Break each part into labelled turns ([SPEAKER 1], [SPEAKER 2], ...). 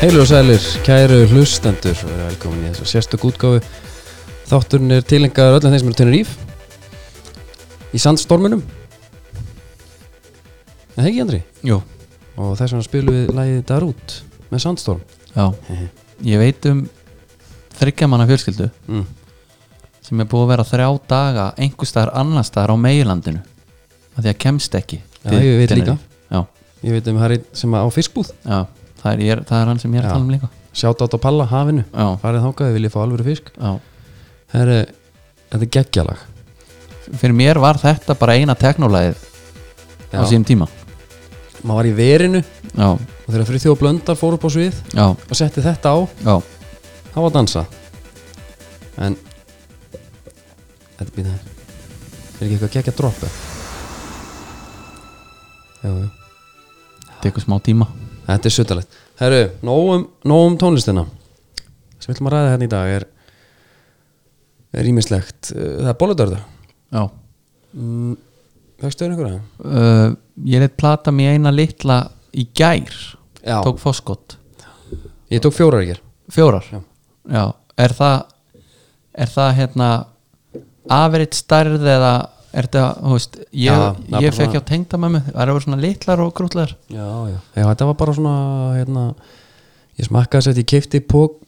[SPEAKER 1] Heilu og sælir, kæru hlustendur og verið velkomin í þessu sérstök útgáfu Þátturinn er tilengar öllum þeim sem eru tennur íf Í sandstorminum En það ekki Andri
[SPEAKER 2] Jú,
[SPEAKER 1] Og þess vegna spilum við lagið Darút með sandstorm
[SPEAKER 2] já Ég veit um þryggja manna fjölskyldu
[SPEAKER 1] mm.
[SPEAKER 2] sem er búið að vera þrjá daga einhverstaðar annarstaðar á meilandinu af því að kemst ekki
[SPEAKER 1] Já,
[SPEAKER 2] til
[SPEAKER 1] ég veit
[SPEAKER 2] Tenerife.
[SPEAKER 1] líka.
[SPEAKER 2] Já,
[SPEAKER 1] Ég veit um Harry sem á fiskbúð
[SPEAKER 2] já það, er, ég er, það er hann sem ég er
[SPEAKER 1] Já.
[SPEAKER 2] að tala um líka
[SPEAKER 1] Sjátt átt á palla hafinu
[SPEAKER 2] Já,
[SPEAKER 1] Farið þákaði, viljið fá alvöru fisk
[SPEAKER 2] já
[SPEAKER 1] Herre, Þetta er geggjalag
[SPEAKER 2] Fyrir mér var þetta bara eina teknólæðið
[SPEAKER 1] Já.
[SPEAKER 2] á sínum tíma
[SPEAKER 1] Maður var í verinu
[SPEAKER 2] Já,
[SPEAKER 1] og þegar Friðþjóð Blöndar fór upp á svið
[SPEAKER 2] já,
[SPEAKER 1] og setti þetta á
[SPEAKER 2] já
[SPEAKER 1] Það var að dansa En Þetta býta það Er ekki eitthvað gekkja droppu? Jú, jú
[SPEAKER 2] Tekur smá tíma
[SPEAKER 1] Þetta er suttalegt Herru, nógum, nógum um tónlistina sem við ætlum að ræða hérna í dag er er ímislegt Það er bóludörðu
[SPEAKER 2] Já
[SPEAKER 1] mm, Vegstu þér einhverja?
[SPEAKER 2] uh, Ég leitt plata mér eina litla í gær
[SPEAKER 1] Já,
[SPEAKER 2] Tók foskott
[SPEAKER 1] ég tók fjórar ekki
[SPEAKER 2] Fjórar?
[SPEAKER 1] Já.
[SPEAKER 2] Já. Er það er það hérna average stærð eða er það, þú veist, ég,
[SPEAKER 1] Já, það er bara
[SPEAKER 2] ég fekk
[SPEAKER 1] svona-
[SPEAKER 2] hjá tengdamömmu, það eru svona litlar og grútlar
[SPEAKER 1] Já, já Já, þetta var bara svona hérna Ég smakkaði þess að ég keipti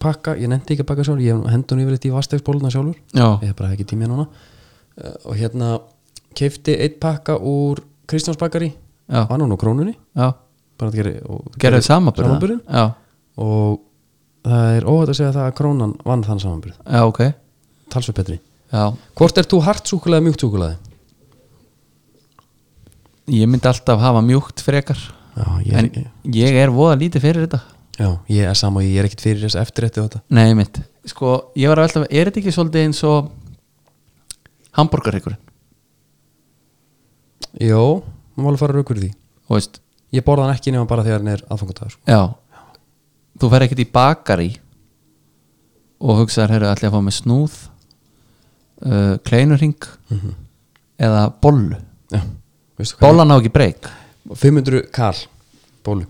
[SPEAKER 1] pakka, ég nefndi ekki að pakka sjálfur, ég hendun yfirleitt í vastegsbóluna sjálfur
[SPEAKER 2] Já,
[SPEAKER 1] ég hef bara ekki tíma núna uh, og hérna keifti eitt pakka úr Kristjánsbakari
[SPEAKER 2] já,
[SPEAKER 1] var núna á krónunni
[SPEAKER 2] já
[SPEAKER 1] bara að gera, og,
[SPEAKER 2] Gerðu samanbyrða?
[SPEAKER 1] samanburðin
[SPEAKER 2] Já,
[SPEAKER 1] og það er óhætt að segja það að krónan vann þann samanburð
[SPEAKER 2] já, ok
[SPEAKER 1] talsveg betri
[SPEAKER 2] Já,
[SPEAKER 1] hvort er þú hart súkulega mjúkt súkulega
[SPEAKER 2] ég myndi alltaf hafa mjúkt frekar
[SPEAKER 1] já, ég er,
[SPEAKER 2] en ég er voða lítið fyrir þetta
[SPEAKER 1] já, ég er sama og ég er ekkit fyrir þess eftirrætti á þetta
[SPEAKER 2] Nei, mitt, sko, ég var að velta er þetta ekki svolítið eins og hambúrgarreikurinn,
[SPEAKER 1] já, maður má alveg fara raukur því
[SPEAKER 2] þú veist
[SPEAKER 1] ég borða hann ekki nema bara þegar hann er sko. aðfangutagur
[SPEAKER 2] Já Þú fer ekkert í bakari og hugsaðar, herru, ætli ég að fá með snúð uh, kleinurring eða bollu
[SPEAKER 1] já, veistu hvað
[SPEAKER 2] Bollan á ekki breyk
[SPEAKER 1] 500 kall bólu,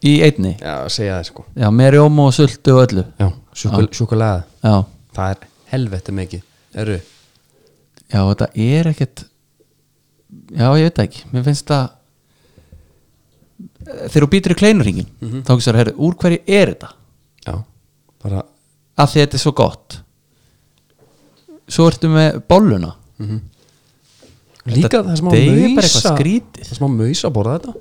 [SPEAKER 2] í einni
[SPEAKER 1] já, segja það sko
[SPEAKER 2] Já, með rjóma og sultu og öllu
[SPEAKER 1] já, súkulega
[SPEAKER 2] Já,
[SPEAKER 1] Það er helvete mikið Eru
[SPEAKER 2] já þetta er ekkert Já, ég veit það ekki Mér finnst það Þegar þú býtur í kleinurringin þá hugsaðar, herru, úr hverju er þetta?
[SPEAKER 1] Já Bara
[SPEAKER 2] Af því þetta er svo gott Svo ertu með bolluna
[SPEAKER 1] Líka það smá
[SPEAKER 2] deyr bara
[SPEAKER 1] mausa
[SPEAKER 2] eitthvað skrítið.
[SPEAKER 1] Það smá mausa að borða þetta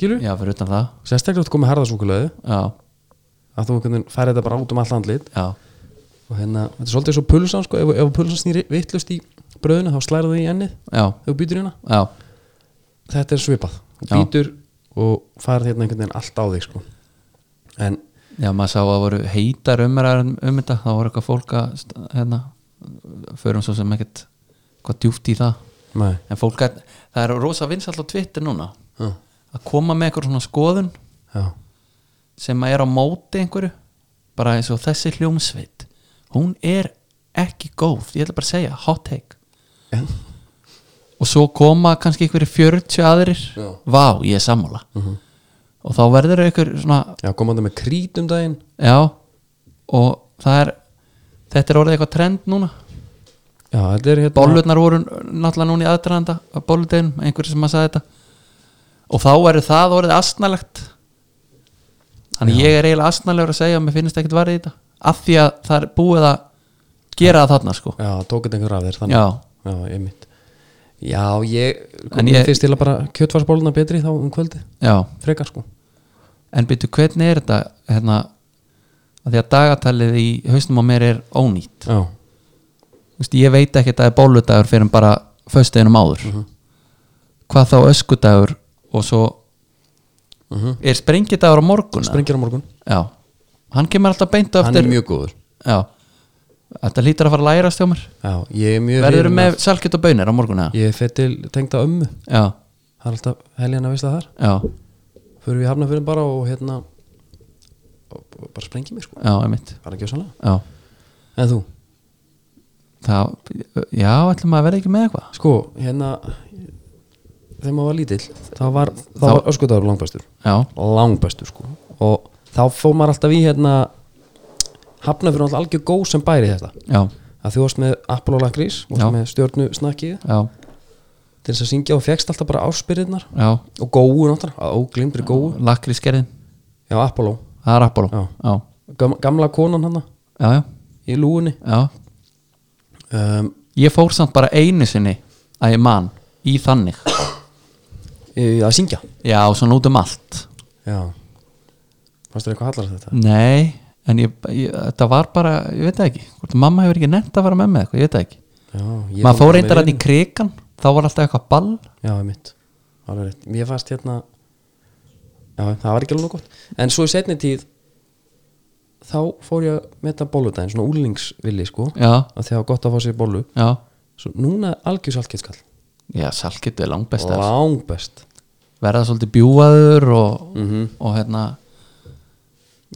[SPEAKER 1] Skilur
[SPEAKER 2] Já, fyrir utan það
[SPEAKER 1] Sérstaklega þú komið harðasúkuleðu
[SPEAKER 2] Já,
[SPEAKER 1] Að þú einhvern veginn færi þetta bara út um allt andlit
[SPEAKER 2] já,
[SPEAKER 1] Og hérna Þetta er svolítið svo pulsan sko Ef, ef pulsan snýri vittlust í bröðuna Þá slæra það í ennið
[SPEAKER 2] já,
[SPEAKER 1] Þegar þú býtur hérna
[SPEAKER 2] já
[SPEAKER 1] Þetta er svipað Þú
[SPEAKER 2] Já.
[SPEAKER 1] býtur Og farið hérna einhvern veginn allt á þig sko En
[SPEAKER 2] Já, maður sá að það voru heitar umræðar um um þetta, það voru eitthvað fólk að st- hérna, förum svo sem ekkert hvað djúft í það
[SPEAKER 1] Nei
[SPEAKER 2] en fólk að, það er rosa vinsall á Twitter núna,
[SPEAKER 1] Já
[SPEAKER 2] að koma með eitthvað svona skoðun
[SPEAKER 1] Já
[SPEAKER 2] sem að er á móti einhverju bara eins og þessi hljómsveit hún er ekki góð ég ætla bara að segja, hot take
[SPEAKER 1] Já.
[SPEAKER 2] og svo koma kannski einhverju 40 aðrir
[SPEAKER 1] Já.
[SPEAKER 2] vá, ég er sammála og þá verður einhver svona
[SPEAKER 1] Já, komandi með krít um daginn
[SPEAKER 2] Já og það er þetta er orðið eitthvað trend núna
[SPEAKER 1] Já, þetta er hérna
[SPEAKER 2] bollurnar voru náttúrulega núna í aðdraðanda að bolludeginum, einhverjir sem að sagði þetta og þá er það orðið astnalegt þannig ég er eiginlega astnalegur að segja að mér finnst ekkert varðið í þetta af því að það er búið að gera það þarna sko
[SPEAKER 1] Já, tók þetta einhver af þér þannig
[SPEAKER 2] Já,
[SPEAKER 1] Já, ég mitt Já, ég,
[SPEAKER 2] En
[SPEAKER 1] en ég
[SPEAKER 2] ég-
[SPEAKER 1] finnst til að bara kjötvarsbóluna betri þá um kvöldi,
[SPEAKER 2] já
[SPEAKER 1] frekar sko
[SPEAKER 2] en byrju hvernig er þetta hérna að því að dagatalið í hausnum á mér er ónýtt
[SPEAKER 1] Já,
[SPEAKER 2] Vist, ég veit ekki að það er bóludagur fyrir en bara föstuðinum áður
[SPEAKER 1] Mhm.
[SPEAKER 2] hvað þá öskudagur og svo
[SPEAKER 1] uh -huh.
[SPEAKER 2] er sprengidagur á morgun eða?
[SPEAKER 1] sprengir á morgun
[SPEAKER 2] já, hann kemur alltaf beint á
[SPEAKER 1] Hann
[SPEAKER 2] eftir
[SPEAKER 1] er mjög góður
[SPEAKER 2] já, þetta lítur að fara að læra stjómar
[SPEAKER 1] Já, ég er mjög
[SPEAKER 2] verður
[SPEAKER 1] hrifinn
[SPEAKER 2] með
[SPEAKER 1] af-
[SPEAKER 2] salkjöt og bönir á morgun eða?
[SPEAKER 1] Ég fer til tengda ömmu
[SPEAKER 2] já,
[SPEAKER 1] Það er alltaf helgin að veist það þar
[SPEAKER 2] já,
[SPEAKER 1] förum við í hafnafyrir bara og hérna og, og bara sprengi mig sko
[SPEAKER 2] já, einmitt
[SPEAKER 1] bara ekki sannlega
[SPEAKER 2] já,
[SPEAKER 1] en þú
[SPEAKER 2] það, já, ætlum að vera ekki með eitthvað
[SPEAKER 1] sko hérna þegar maður var lítill þá var, þá
[SPEAKER 2] Þá-
[SPEAKER 1] var öskutagur langbæstur
[SPEAKER 2] já,
[SPEAKER 1] langbæstur sko og þá fór maður alltaf í hérna hafnafyrir alltaf algjör góð sem bæri þetta
[SPEAKER 2] já,
[SPEAKER 1] að þú varst með Apollo Lakrís
[SPEAKER 2] Já.
[SPEAKER 1] varst með stjórnu snakkið
[SPEAKER 2] já,
[SPEAKER 1] til þess að syngja og fegst alltaf bara áspyrirnar
[SPEAKER 2] já
[SPEAKER 1] og góu náttúrulega, óglimbri góu
[SPEAKER 2] lakrískerðin,
[SPEAKER 1] já, Apollo,
[SPEAKER 2] það er Apollo
[SPEAKER 1] Já.
[SPEAKER 2] já,
[SPEAKER 1] Gam, gamla konan hann
[SPEAKER 2] já, já,
[SPEAKER 1] í lúinni
[SPEAKER 2] já.
[SPEAKER 1] um,
[SPEAKER 2] ég fór samt bara einu sinni að ég man í þannig
[SPEAKER 1] í- að syngja
[SPEAKER 2] já, svona út um allt
[SPEAKER 1] já fannst þér eitthvað hallar þetta?
[SPEAKER 2] nei, en ég, ég, þetta var bara ég veit það ekki, hvort mamma hefur ekki nefnt að fara með með eitthvað, ég veit það ekki
[SPEAKER 1] já, ég
[SPEAKER 2] maður
[SPEAKER 1] fór
[SPEAKER 2] fór
[SPEAKER 1] bara
[SPEAKER 2] reyndar
[SPEAKER 1] með
[SPEAKER 2] hann í krikan þá var alltaf eitthvað ball
[SPEAKER 1] já, mitt, alveg rétt mér fannst hérna já, það var ekki alveg nóg gott en svo í setni tíð þá fór ég að meta bóludaginn, svona úlingsvilli sko,
[SPEAKER 2] já,
[SPEAKER 1] að því það var gott að fá sér bólu
[SPEAKER 2] já,
[SPEAKER 1] svo núna algjör saltkitskall
[SPEAKER 2] já, salkitu er langbest wow.
[SPEAKER 1] langbest
[SPEAKER 2] verða svolítið bjúaður og,
[SPEAKER 1] Mhm.
[SPEAKER 2] og hérna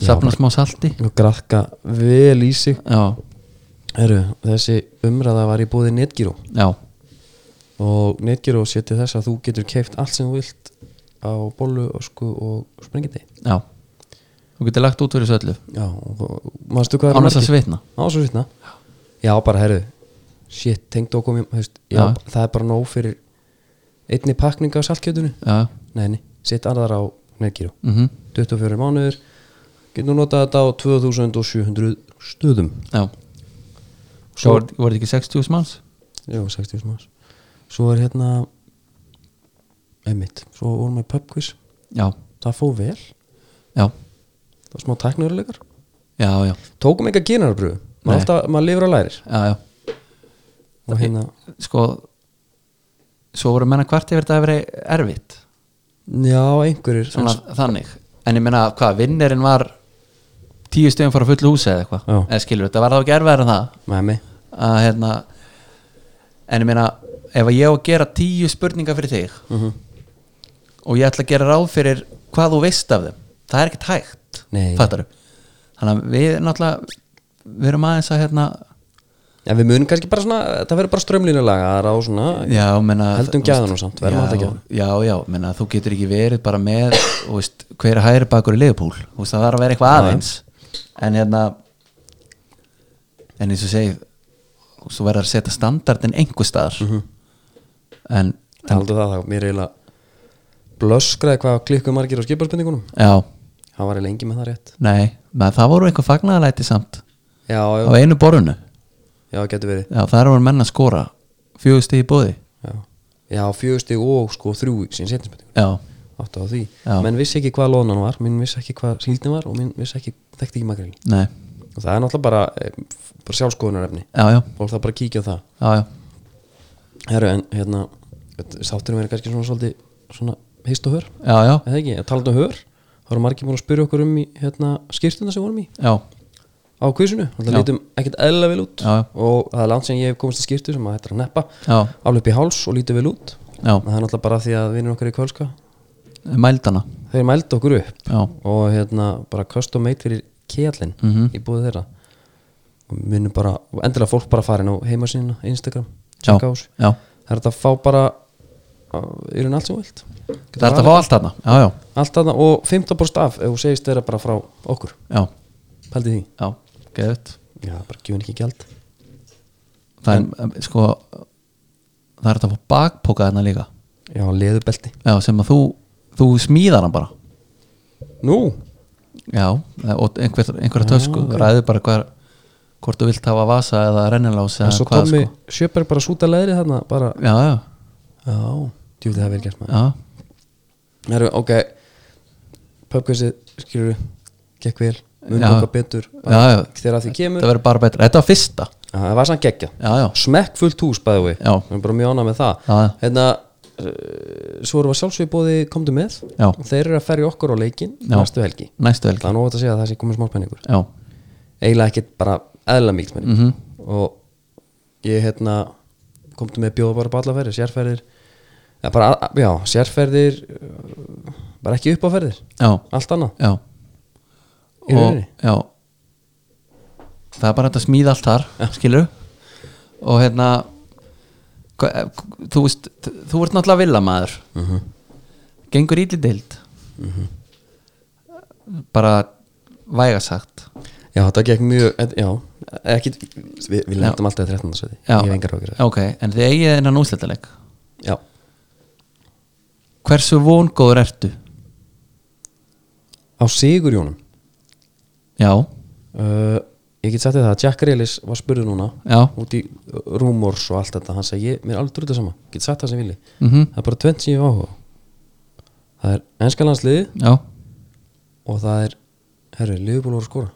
[SPEAKER 1] Já,
[SPEAKER 2] safna smá salti
[SPEAKER 1] og grakka vel í sig
[SPEAKER 2] já,
[SPEAKER 1] Heru, þessi umræða var í búði Netgyro
[SPEAKER 2] já,
[SPEAKER 1] og Netgyro sé til þess að þú getur keift allt sem þú vilt á bollu ösku og sprengindi
[SPEAKER 2] já þú getur lagt út fyrir þessu öllu
[SPEAKER 1] já, og þú, manstu hvað er
[SPEAKER 2] án þess að svitna
[SPEAKER 1] án svo svitna já, bara herru, shit, tengd okkur mér, hefst, já,
[SPEAKER 2] Já.
[SPEAKER 1] það er bara nóg fyrir einni pakning á saltkjötunni
[SPEAKER 2] já,
[SPEAKER 1] nei, nei, sitt annar á Netgyro
[SPEAKER 2] mhm
[SPEAKER 1] 24 mánuður getur notað þetta á 2700 stöðum
[SPEAKER 2] já
[SPEAKER 1] Svo-
[SPEAKER 2] svo voru voru þetta ekki 60 manns
[SPEAKER 1] Jú, 60 manns Svo er hérna einmitt, svo vorum við pubquiz
[SPEAKER 2] já,
[SPEAKER 1] það fóð vel,
[SPEAKER 2] já,
[SPEAKER 1] það var smá tæknurleikar
[SPEAKER 2] já, já,
[SPEAKER 1] tókum eitthvað gynarbröðu,
[SPEAKER 2] Nei.
[SPEAKER 1] maður, alltaf, maður lifur að lærir
[SPEAKER 2] já, já.
[SPEAKER 1] og hérna,
[SPEAKER 2] sko svo voru menna hvart yfir þetta að vera erfitt
[SPEAKER 1] já, einhverjir
[SPEAKER 2] svona þannig en ég meina hvað, vinnerinn var tíu stöðum fara fullu húsi eða eitthvað
[SPEAKER 1] Já.
[SPEAKER 2] eða skilur þetta var það ekki erfiðar en það
[SPEAKER 1] með mig,
[SPEAKER 2] að hérna en ég meina, ef að ég á að gera tíu spurningar fyrir þig og ég ætla að gera ráð fyrir hvað þú veist af þeim það er ekkert hægt
[SPEAKER 1] Nei.
[SPEAKER 2] fattaru þannig að við náttúrulega við erum aðeins að hérna
[SPEAKER 1] en við munum kannski bara svona það verður bara strömlínulaga, það er á svona
[SPEAKER 2] já, meina,
[SPEAKER 1] Heldum
[SPEAKER 2] þú
[SPEAKER 1] gæðanum
[SPEAKER 2] veist,
[SPEAKER 1] samt, verðum að
[SPEAKER 2] já,
[SPEAKER 1] þetta gæða.
[SPEAKER 2] já, já, meina, þú getur ekki verið bara með þú veist, hver er hægri bakur í liðupúl þú veist, það þarf að vera eitthvað
[SPEAKER 1] Já,
[SPEAKER 2] aðeins en hérna en eins og segi þú verður að setja standardin einhver staðar
[SPEAKER 1] Mhm.
[SPEAKER 2] en
[SPEAKER 1] taldu það, það, mér eiginlega blöskraði hvað klikkuð margir á skiparspendingunum
[SPEAKER 2] já,
[SPEAKER 1] það var eiginlega engi með það rétt
[SPEAKER 2] nei, menn, það voru einhver fagnaðalæti samt
[SPEAKER 1] já,
[SPEAKER 2] á
[SPEAKER 1] já,
[SPEAKER 2] einu borðinu
[SPEAKER 1] já, getur verið
[SPEAKER 2] já, þar voru menn að skora fjögusti í bóði
[SPEAKER 1] já, já fjögusti og sko þrjú í sín setjum
[SPEAKER 2] já,
[SPEAKER 1] átt á því,
[SPEAKER 2] Já.
[SPEAKER 1] menn vissi ekki hvað lónan var minn vissi ekki hvað síldin var og minn vissi ekki þekkti ekki makril
[SPEAKER 2] nei,
[SPEAKER 1] og það er náttúrulega bara, eh, bara sjálfskoðunarefni
[SPEAKER 2] já, já,
[SPEAKER 1] fólk það bara að kíkja á það
[SPEAKER 2] já, já
[SPEAKER 1] Heru, en hérna, þetta- sátturinn verið kannski svona svolítið svona heist og hör
[SPEAKER 2] já, já,
[SPEAKER 1] eða ekki, að tala um hör þá eru margir búin að spyrja okkur um í hérna, skýrtuna sem vorum í
[SPEAKER 2] já,
[SPEAKER 1] á kvísinu, það
[SPEAKER 2] Já.
[SPEAKER 1] lítum ekkert eðla vel út
[SPEAKER 2] Já.
[SPEAKER 1] og það er langt sem ég hef komist að skýrtu sem að þetta er að neppa
[SPEAKER 2] já,
[SPEAKER 1] alveg upp í háls og lítum vel út
[SPEAKER 2] já,
[SPEAKER 1] það er náttúrulega bara því að vinnir okkar í kvölska
[SPEAKER 2] mældana
[SPEAKER 1] þeir mældu okkur upp
[SPEAKER 2] já,
[SPEAKER 1] og hérna bara custom made fyrir kjallin
[SPEAKER 2] mhm
[SPEAKER 1] í búið þeirra og minnum bara, og endilega fólk bara farin á heimasíðina, Instagram, checka á þessu
[SPEAKER 2] já,
[SPEAKER 1] það er þetta að fá bara uh, í raun allt sem þú vilt
[SPEAKER 2] það er þetta að fá allt þarna já, já,
[SPEAKER 1] allt þarna og 15% af ef þú segist þeirra bara frá okkur
[SPEAKER 2] já,
[SPEAKER 1] pældi því,
[SPEAKER 2] já, geðut
[SPEAKER 1] já, bara gjöfum ekki gjald
[SPEAKER 2] það er, em, sko það er þetta að fá bakpoka þarna líka
[SPEAKER 1] já, leðubelti,
[SPEAKER 2] já, sem að þú, þú smíðar hann bara
[SPEAKER 1] nú
[SPEAKER 2] já, og einhver, einhverja tösku ræður bara hver, hvort þú vilt hafa vasa eða rennilás
[SPEAKER 1] en
[SPEAKER 2] eða
[SPEAKER 1] svo
[SPEAKER 2] hvað
[SPEAKER 1] Tommy
[SPEAKER 2] sko
[SPEAKER 1] sjöpar bara súta leðri þarna bara,
[SPEAKER 2] já, já,
[SPEAKER 1] já, djúfið það verið gert maður
[SPEAKER 2] já,
[SPEAKER 1] Heru, ok, pubquizið skilur við, gekk vel munum
[SPEAKER 2] Já.
[SPEAKER 1] okkar betur
[SPEAKER 2] já, já.
[SPEAKER 1] þegar að því kemur
[SPEAKER 2] það verður bara betra þetta var fyrsta,
[SPEAKER 1] Já, það var samt geggja
[SPEAKER 2] já, já,
[SPEAKER 1] smekk fullt hús bæði við
[SPEAKER 2] Já.
[SPEAKER 1] við erum bara mjög ánað með það
[SPEAKER 2] Já, já.
[SPEAKER 1] hérna, uh, svo erum við sjálfsög bóði komdu með
[SPEAKER 2] Já.
[SPEAKER 1] þeir eru að ferja okkur á leikin
[SPEAKER 2] Já.
[SPEAKER 1] næstu helgi
[SPEAKER 2] næstu helgi
[SPEAKER 1] það er nú óvægt að segja að það sé komið smá spenningur
[SPEAKER 2] já,
[SPEAKER 1] eiginlega ekkert bara eðla mýkt spenning
[SPEAKER 2] Mhm.
[SPEAKER 1] og ég hérna komdu með bjóða bara ballafæri sérferðir eða bara, já, sérferðir uh, bara ekki upp á ferðir,
[SPEAKER 2] já,
[SPEAKER 1] allt annað
[SPEAKER 2] já
[SPEAKER 1] Í
[SPEAKER 2] og,
[SPEAKER 1] rauninni?
[SPEAKER 2] já það er bara hægt að smíða allt þar skilur og hérna hva- eh, þú veist, þú ert náttúrulega villamaður -huh.
[SPEAKER 1] Mhm.
[SPEAKER 2] gengur ítlið deild
[SPEAKER 1] Mhm.
[SPEAKER 2] bara vægasagt
[SPEAKER 1] Já, þetta gekk mjög, et- já, ekki, við, við lendum alltaf í 13. seti,
[SPEAKER 2] Já.
[SPEAKER 1] ég hef engar ákjör
[SPEAKER 2] ok, en þið eigið þennan úsletaleg
[SPEAKER 1] Já,
[SPEAKER 2] hversu vongóður ertu?
[SPEAKER 1] á Sigur Jónum
[SPEAKER 2] já,
[SPEAKER 1] uh, Ég get sagt þér það að Jack Reilis var spurður núna
[SPEAKER 2] já,
[SPEAKER 1] út í rumors og allt þetta hann sagði, ég, mér er alveg drútið sama, get sagt það sem ég vilji
[SPEAKER 2] mhm
[SPEAKER 1] það er bara tvent sem ég hef áhuga á. það er ennska landsliði
[SPEAKER 2] já,
[SPEAKER 1] og það er, herru, Liverpool voru að skora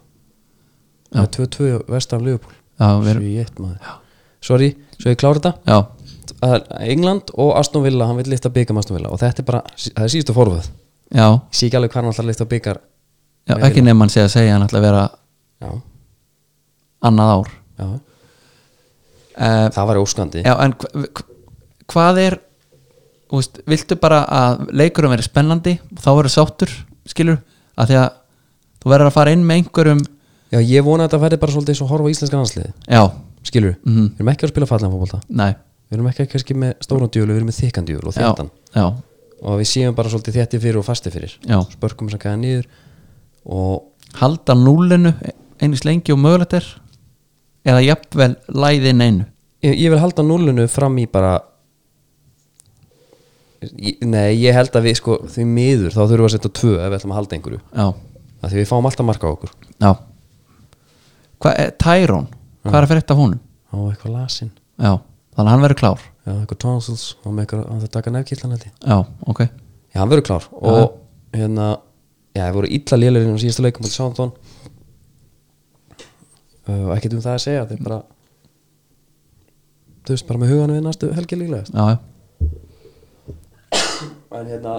[SPEAKER 1] það er 2-2 vestam Liverpool
[SPEAKER 2] já, við
[SPEAKER 1] svo
[SPEAKER 2] erum
[SPEAKER 1] ég eitt maður sorry, svo ég klára þetta
[SPEAKER 2] já,
[SPEAKER 1] Það er England og Aston Villa, hann vil lifta byggjum Aston Villa og þetta er bara, það er síðustu forvöð ég
[SPEAKER 2] já,
[SPEAKER 1] sé ekki alveg hvað hann alltaf lifta byggar
[SPEAKER 2] já ekki nefn hann sé að segja hann ætla að vera
[SPEAKER 1] já,
[SPEAKER 2] annað ár
[SPEAKER 1] já,
[SPEAKER 2] uh,
[SPEAKER 1] það var óskandi
[SPEAKER 2] Já, en hva- hva- hvað er þú veist, viltu bara að leikurum verið spennandi og þá verður sáttur, skilur að því að þú verður að fara inn með einhverjum
[SPEAKER 1] já, ég vona að þetta verði bara svolítið eins og horfa á íslenska landsliði,
[SPEAKER 2] já,
[SPEAKER 1] skilur
[SPEAKER 2] mhm,
[SPEAKER 1] við erum ekki að spila fallan fótbolta
[SPEAKER 2] næ
[SPEAKER 1] við erum ekki kannski með stóran djúlu, við erum með þykkan djúlu og
[SPEAKER 2] já,
[SPEAKER 1] þéttan
[SPEAKER 2] já,
[SPEAKER 1] og við séum bara svolítið þétti fyrir og fasti fyrir
[SPEAKER 2] já,
[SPEAKER 1] spörkum sem kæða niður og
[SPEAKER 2] halda núlinu einnig lengi og mögulegt er eða jafnvel læðin einu
[SPEAKER 1] ég, ég vil halda núlunu fram í bara ég, nei, ég held að við sko því miður, þá þurfum við að setja tvö ef við ætlum að halda einhverju,
[SPEAKER 2] já,
[SPEAKER 1] af því við fáum alltaf marka á okkur
[SPEAKER 2] já hvað er Tyrone, hvað er að fyrir þetta honum
[SPEAKER 1] á eitthvað lasin,
[SPEAKER 2] já, þannig að hann verður klár
[SPEAKER 1] já, eitthvað tonsils og með eitthvað, hann þarf að taka nefkillan held ég
[SPEAKER 2] já, ok,
[SPEAKER 1] já, hann verður klár og hérna, já, það voru illa lélurinn á síðasta leikum á Sándón og uh, ekkert um það að segja þetta er bara þú veist, bara með huganum við næstu helgi líklega
[SPEAKER 2] já, já
[SPEAKER 1] en hérna